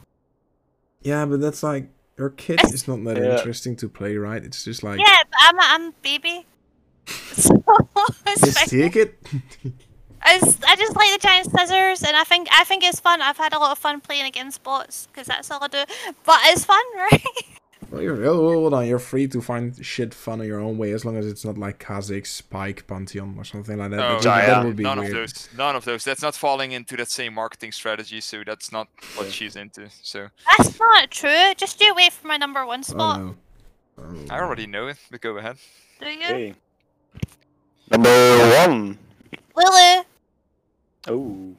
S3: Yeah, but that's like your kid
S2: It's-
S3: is not that
S4: Yeah.
S3: interesting to play, right? It's just like
S2: Yeah, but I'm a, I'm a baby. So it's
S3: just
S2: fine.
S3: take it.
S2: I just, I just like the giant scissors, and I think I think it's fun. I've had a lot of fun playing against bots because that's all I do. But it's fun, right?
S3: well, you're, oh, hold on, you're free to find shit fun in your own way as long as it's not like Kha'Zix, Spike, Pantheon, or something like that.
S1: Oh,
S3: because
S4: yeah,
S3: that would be
S1: none
S3: weird.
S1: of those. None of those. That's not falling into that same marketing strategy, so that's not what she's into. So
S2: That's not true. Just you wait for my number one
S3: Oh,
S2: spot.
S3: no. Oh,
S1: I already know it, but go ahead.
S2: Do you?
S4: Hey, Number one.
S2: Lulu.
S4: Oh,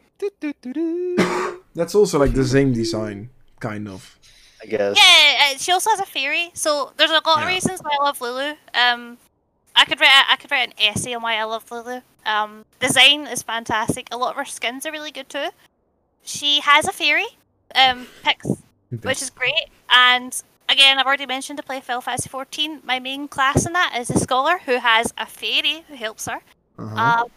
S3: That's also like the same design, kind of.
S4: I guess.
S2: Yeah, uh, she also has a fairy. So there's a lot of
S3: Yeah.
S2: reasons why I love Lulu. Um, I could write I could write an essay on why I love Lulu. Um, design is fantastic. A lot of her skins are really good too. She has a fairy. Um, picks which is great. And again, I've already mentioned to play Final Fantasy 14. My main class in that is a scholar who has a fairy who helps her.
S3: Uh-huh.
S2: Um,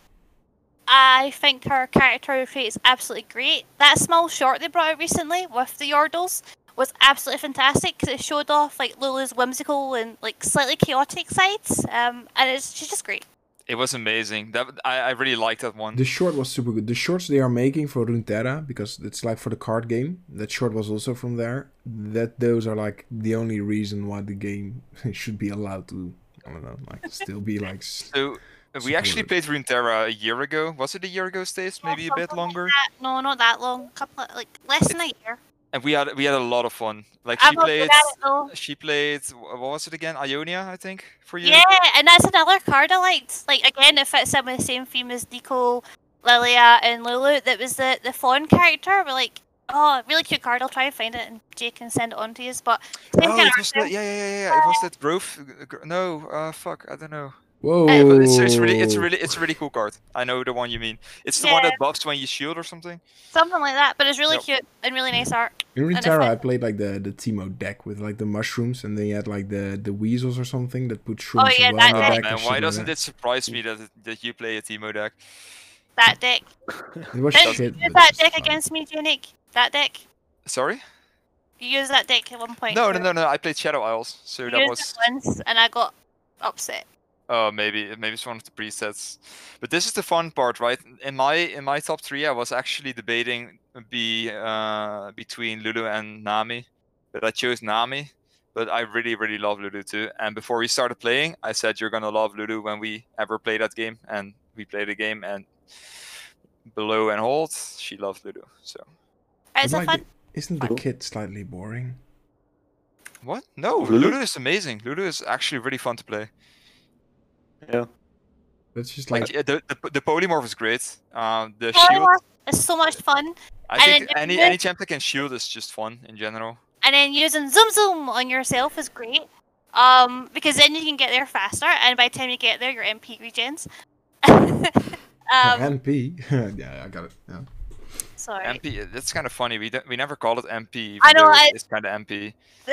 S2: I think her character trait is absolutely great. That small short they brought out recently with the Yordles was absolutely fantastic because it showed off like Lulu's whimsical and like slightly chaotic sides. Um, and it's she's just great.
S1: It was amazing. That I, I really liked that one.
S3: The short was super good. The shorts they are making for Runeterra because it's like for the card game. That short was also from there. That those are like the only reason why the game should be allowed to. I don't know, like still be like. s-
S1: So uh, we actually played Runeterra a year ago. Was it a year ago, Stace? Maybe a bit
S2: Something like
S1: longer.
S2: that. No, not that long. Couple of, like less than a year.
S1: And we had we had a lot of fun. Like
S2: I'm
S1: she
S2: not good at
S1: played,
S2: it though.
S1: she played. wh- What was it again? Ionia, I think, for you.
S2: Yeah, and that's another card I liked. Like again, it fits in with the same theme as Nico, Lilia, and Lulu. That was the the fawn character. We're like, oh, really cute card. I'll try and find it, and Jake can send it on to you. But same
S1: Oh,
S2: kind
S1: it
S2: of
S1: was
S2: art
S1: that, yeah, yeah, yeah, yeah. It was that growth. g- gr- No, uh, fuck, I don't know.
S3: Whoa!
S1: But it's, it's really, it's really, it's a really cool card. I know the one you mean. It's the one
S2: Yeah.
S1: that buffs when you shield or something.
S2: there, something like that. But it's really
S1: Yep.
S2: cute and really nice art. if
S3: In Runeterra,
S2: I-
S3: I played like the the Timo deck with like the mushrooms, and then you had like the the weasels or something that put shrooms as
S2: Oh, yeah,
S3: well
S2: that
S3: in
S2: deck.
S3: the deck.
S1: Man,
S3: and shit
S1: why
S3: like
S1: doesn't
S3: Oh, that.
S1: it surprise me that that you play a Teemo deck?
S2: That deck.
S3: It was
S2: Didn't
S3: shit.
S2: you use
S3: but
S2: that
S3: it's
S2: deck
S3: fine.
S2: against me, Janick? That deck.
S1: Sorry?
S2: You used that deck at one point.
S1: No,
S2: too.
S1: no, no, no. I played Shadow Isles, so
S2: You
S1: that
S2: used
S1: was
S2: it once, and I got upset.
S1: Oh, maybe maybe it's one of the presets. But this is the fun part, right? In my in my top three, I was actually debating be uh, between Lulu and Nami, but I chose Nami. But I really really love Lulu too. And before we started playing, I said you're gonna love Lulu when we ever play that game, and we played the game and below and hold, she loved Lulu. So
S2: It's a
S3: But, like,
S2: fun.
S3: Isn't the
S4: Cool.
S3: kit slightly boring?
S1: what? No,
S4: Lulu?
S1: Lulu is amazing. Lulu is actually really fun to play.
S4: Yeah.
S3: That's just
S1: Like
S3: like
S1: yeah, the, the the polymorph is great. Um, the shield.
S2: Polymorph is so much fun,
S1: I
S2: And
S1: think
S2: then
S1: any
S2: different-
S1: any champ that can shield is just fun in general.
S2: and then using zoom zoom on yourself is great um because then you can get there faster and by the time you get there your mp regens um
S3: MP. yeah, I got it. Yeah.
S2: sorry
S1: MP, uh, that's kind of funny. We don't, we never call it MP.
S2: I
S1: even
S2: know,
S1: though
S2: I-
S1: It's kind of MP.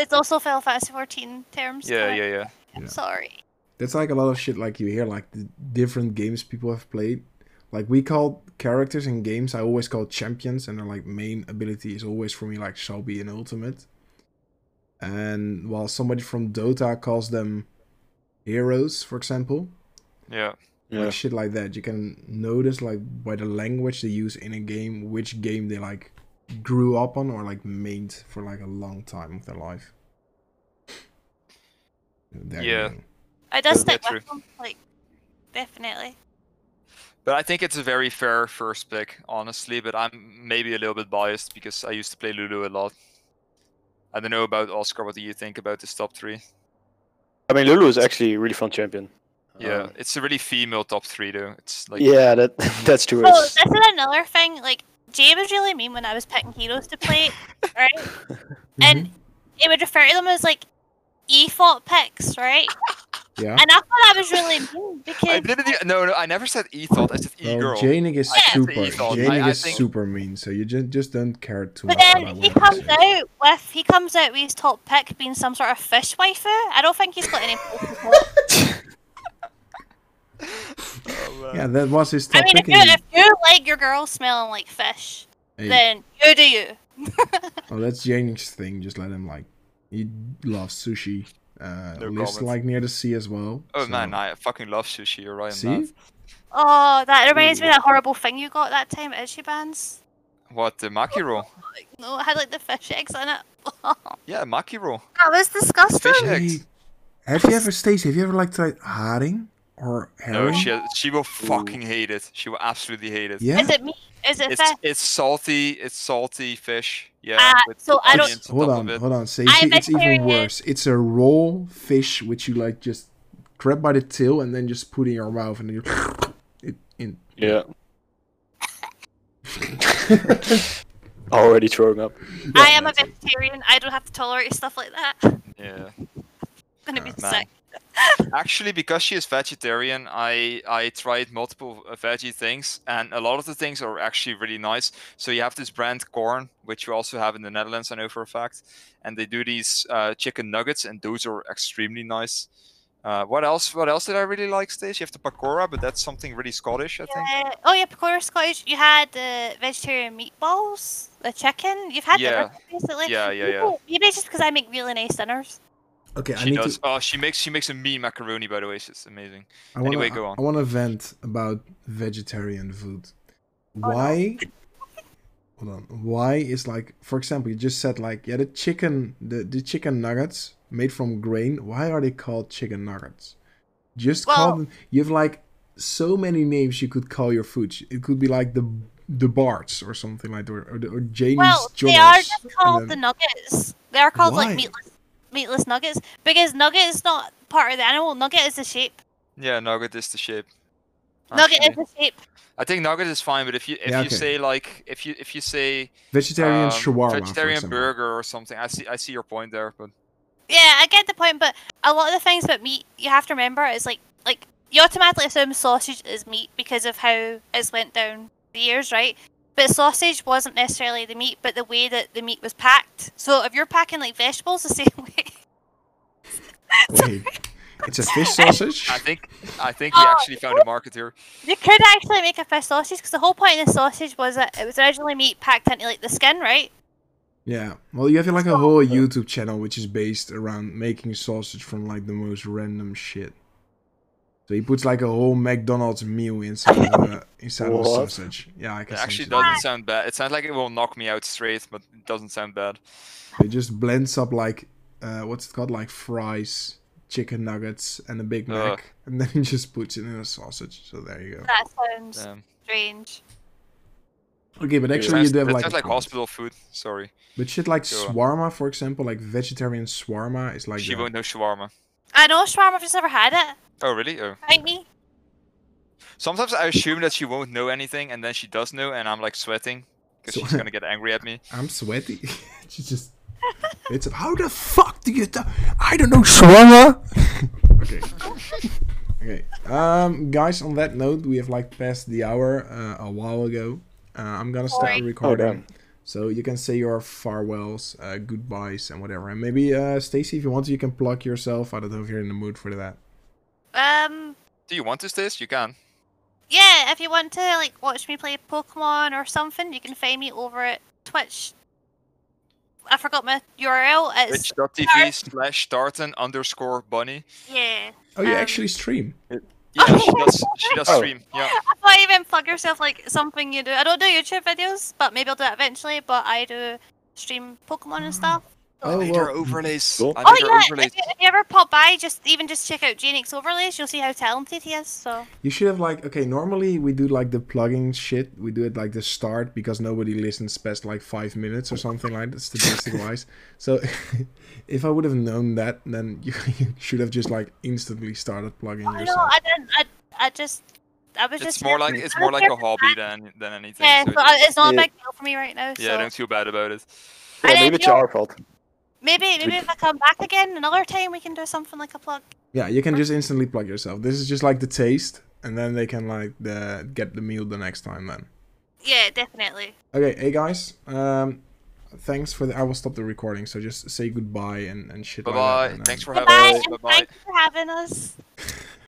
S2: it's also Final Fantasy 14 terms
S1: Yeah,
S2: correct?
S1: yeah, yeah.
S3: Yeah.
S2: sorry
S3: That's like a lot of shit like you hear like the different games people have played. Like we call characters in games I always call champions and their like main ability is always for me like Shelby and Ultimate. And while somebody from Dota calls them heroes, for example.
S1: Yeah.
S4: Yeah.
S3: Like shit like that. You can notice like by the language they use in a game which game they like grew up on or like made for like a long time of their life. There you
S1: Yeah.
S3: go.
S2: it does
S4: Yeah,
S2: stick
S1: that's
S2: with them like definitely
S1: But I think it's a very fair first pick, honestly. But I'm maybe a little bit biased because I used to play Lulu a lot. I don't know about Oscar. What do you think about this top three?
S4: I mean, Lulu is actually a really fun champion.
S1: Yeah,
S4: Uh,
S1: it's a really female top three though. It's like
S4: yeah, that that's true.
S2: oh
S4: It's-
S2: this is another thing like jay was really mean when i was picking heroes to play right
S1: Mm-hmm.
S2: and it would refer to them as like e-fort picks right
S3: Yeah.
S2: and i thought that was really mean
S1: I
S2: because
S1: didn't. e- No, no, I never said E thought. I said
S4: Oh,
S1: E
S3: Well,
S1: girl.
S3: Janik is
S1: I
S3: super.
S1: think he's on.
S3: Janik
S1: I- I
S3: is
S1: think-
S3: super mean, so you just just don't care too
S2: But
S3: much.
S2: then
S3: about
S2: he
S3: what I
S2: comes
S3: say.
S2: out with he comes out with his top pick being some sort of fish waifu. I don't think he's got any. place for it.
S3: Yeah, that was his
S2: I mean, if
S3: topic.
S2: you, if you like your girl smelling like fish, then you do you.
S3: oh, that's Janik's thing. Just let him like. He loves sushi. Uh,
S1: No
S3: lives
S1: comments.
S3: like near the sea as well.
S1: Oh
S3: so-
S1: man, I fucking love sushi. You're right. on
S3: see,
S1: that.
S2: Oh, that reminds me
S4: Ooh.
S2: of that horrible thing you got that time at Ichiban's.
S1: What the maki roll?
S2: Like, no, it had like the fish eggs in it. that
S1: Yeah, maki roll.
S2: was disgusting.
S1: Fish eggs.
S3: Hey, have you ever, Stacey? Have you ever like tried haring or
S1: No,
S3: herring?
S1: she she will fucking hate it. She will absolutely hate it.
S3: yeah.
S2: Is it me? Is it
S1: It's
S2: fish?
S1: it's salty. It's salty fish. Yeah.
S2: Ah,
S1: with
S2: so I don't-
S1: onions on
S3: Hold
S1: top
S3: on,
S1: of it.
S3: hold on, Stacey. It's even
S2: vegetarian.
S3: worse. It's a raw fish which you like just grab by the tail and then just put in your mouth and then you it in.
S4: Yeah. Already throwing up.
S2: I am a
S4: that's it.
S2: vegetarian. I don't have to tolerate stuff like that. I'm
S1: Yeah.
S2: gonna be
S1: man.
S2: sick.
S1: Actually, because she is vegetarian, I I tried multiple uh, veggie things, and a lot of the things are actually really nice. So you have this brand corn, which you also have in the Netherlands, I know for a fact, and they do these uh, chicken nuggets, and those are extremely nice. Uh, what else? What else did I really like, Stace? You have the pakora, but that's something really Scottish, I think.
S2: Yeah. Oh yeah, Pakora Scottish. You had the vegetarian meatballs, the chicken. You've had
S1: Yeah.
S2: them recently.
S1: Yeah, yeah, yeah.
S2: People- Maybe it's just because I make really nice dinners.
S3: Okay, I
S1: She
S3: need
S1: does.
S3: to.
S1: Oh, she makes she makes a mean macaroni, by the way. It's amazing.
S3: I wanna,
S1: anyway, go on.
S3: I want to vent about vegetarian food.
S2: Oh, no.
S3: Why? Hold on. Why is like, for example, you just said like, yeah, the chicken, the the chicken nuggets made from grain. Why are they called chicken nuggets? Just call
S2: Well-
S3: them. You have like so many names you could call your food. It could be like the the Barts or something like that, or or, the, or Janie's
S2: well, they are
S3: Jonas,
S2: just
S3: and
S2: called the
S3: then-
S2: nuggets. They are called
S3: Why?
S2: like meatless, meatless nuggets because nugget is not part of the animal. Nugget is the shape.
S1: Yeah, nugget is the shape.
S2: Nugget
S1: actually.
S2: is the shape.
S1: I think nugget is fine, but if you if
S3: Yeah,
S1: you
S3: okay.
S1: say like if you if you say
S3: vegetarian
S1: um,
S3: shawarma. for
S1: vegetarian
S3: example.
S1: burger or something, I see I see your point there, but
S2: Yeah, I get the point, but a lot of the things about meat you have to remember is like like you automatically assume sausage is meat because of how it's went down the years, right? But sausage wasn't necessarily the meat, but the way that the meat was packed. So if you're packing like vegetables the same way,
S3: Wait, it's a fish sausage.
S1: I think I think we
S2: Oh,
S1: actually found a market here.
S2: you could actually make a fish sausage because the whole point of the sausage was that it was originally meat packed into like the skin, right?
S3: Yeah. Well, you have like a whole YouTube channel which is based around making sausage from like the most random shit. So he puts like a whole McDonald's meal inside of a, inside of a
S4: What?
S3: sausage. Yeah, I
S1: It
S3: can
S1: actually
S3: actually
S1: doesn't sound bad. It sounds like it will knock me out straight, but it doesn't sound bad.
S3: It just blends up like uh, what's it called? Like fries, chicken nuggets, and a Big Mac,
S1: Ugh.
S3: and then he just puts it in a sausage. So there you go.
S2: That sounds
S1: Um,
S2: strange.
S3: Okay, but actually
S1: sounds,
S3: you do have
S1: that
S3: like,
S1: sounds like hospital food. Sorry,
S3: but shit like
S1: Go on.
S3: swarma, for example, like vegetarian swarma is like
S1: she
S3: that.
S1: won't know shawarma.
S2: I know shawarma, I've just never had it.
S1: Oh really? Oh.
S2: Thank me.
S1: Sometimes I assume that she won't know anything, and then she does know, and I'm like sweating because
S3: So-
S1: she's gonna get angry at me.
S3: I'm sweaty. she just. It's how the fuck do you? ta- I don't know, Shawarma. okay. Okay. Um, guys, on that note, we have like passed the hour uh, a while ago. Uh, I'm gonna start
S2: Sorry.
S3: recording,
S4: damn.
S3: so you can say your farewells, uh, goodbyes, and whatever. And maybe uh, Stacy, if you want to, you can plug yourself. I don't know if you're in the mood for that.
S2: Um,
S1: Do you want to this? You can.
S2: yeah, if you want to like watch me play Pokemon or something, you can find me over at Twitch. I forgot my URL. It's
S1: Twitch.tv slash tartan underscore bunny.
S2: yeah.
S3: Oh, you
S2: Um,
S3: actually stream.
S1: Yeah, she does. She does
S4: Oh.
S1: stream. Yeah.
S2: I thought even plug yourself like something you do. I don't do YouTube videos, but maybe I'll do it eventually. But I do stream Pokemon and stuff.
S3: Oh,
S1: made her
S3: well,
S1: overlays.
S4: cool.
S1: Mm, I
S2: Oh
S1: made her
S2: yeah, if you,
S1: overlays.
S2: if you ever pop by, just even just check out Genix overlays. You'll see how talented he is. So
S3: You should have like okay. Normally we do like the plugging shit. We do it like the start because nobody listens past like five minutes or something like that, statistic wise. So if I would have known that, then you, you should have just like instantly started plugging
S2: no,
S3: yourself.
S2: I didn't. I, I just I was just
S1: It's more
S2: here-
S1: like
S3: me.
S1: it's more like a hobby than than anything.
S2: yeah.
S1: so
S2: So I,
S1: it's-
S2: it's not a
S4: Yeah.
S2: big deal for me right now.
S1: yeah,
S2: so.
S1: don't feel bad about it.
S2: I
S4: Yeah,
S2: didn't
S4: maybe it's
S2: know-
S4: our fault.
S2: Maybe maybe if I come back again another time, we can do something like a plug.
S3: Yeah, you can just instantly plug yourself. This is just like the taste, and then they can like the get the meal the next time. Then
S2: Yeah, definitely.
S3: okay, hey guys, um, thanks for the. I will stop the recording. So just say goodbye and and shit.
S1: Bye
S3: like that,
S1: bye.
S3: and then-
S1: Thanks for
S2: Bye
S1: having
S2: bye,
S1: us. Bye
S2: and
S1: bye.
S2: thank you for having us.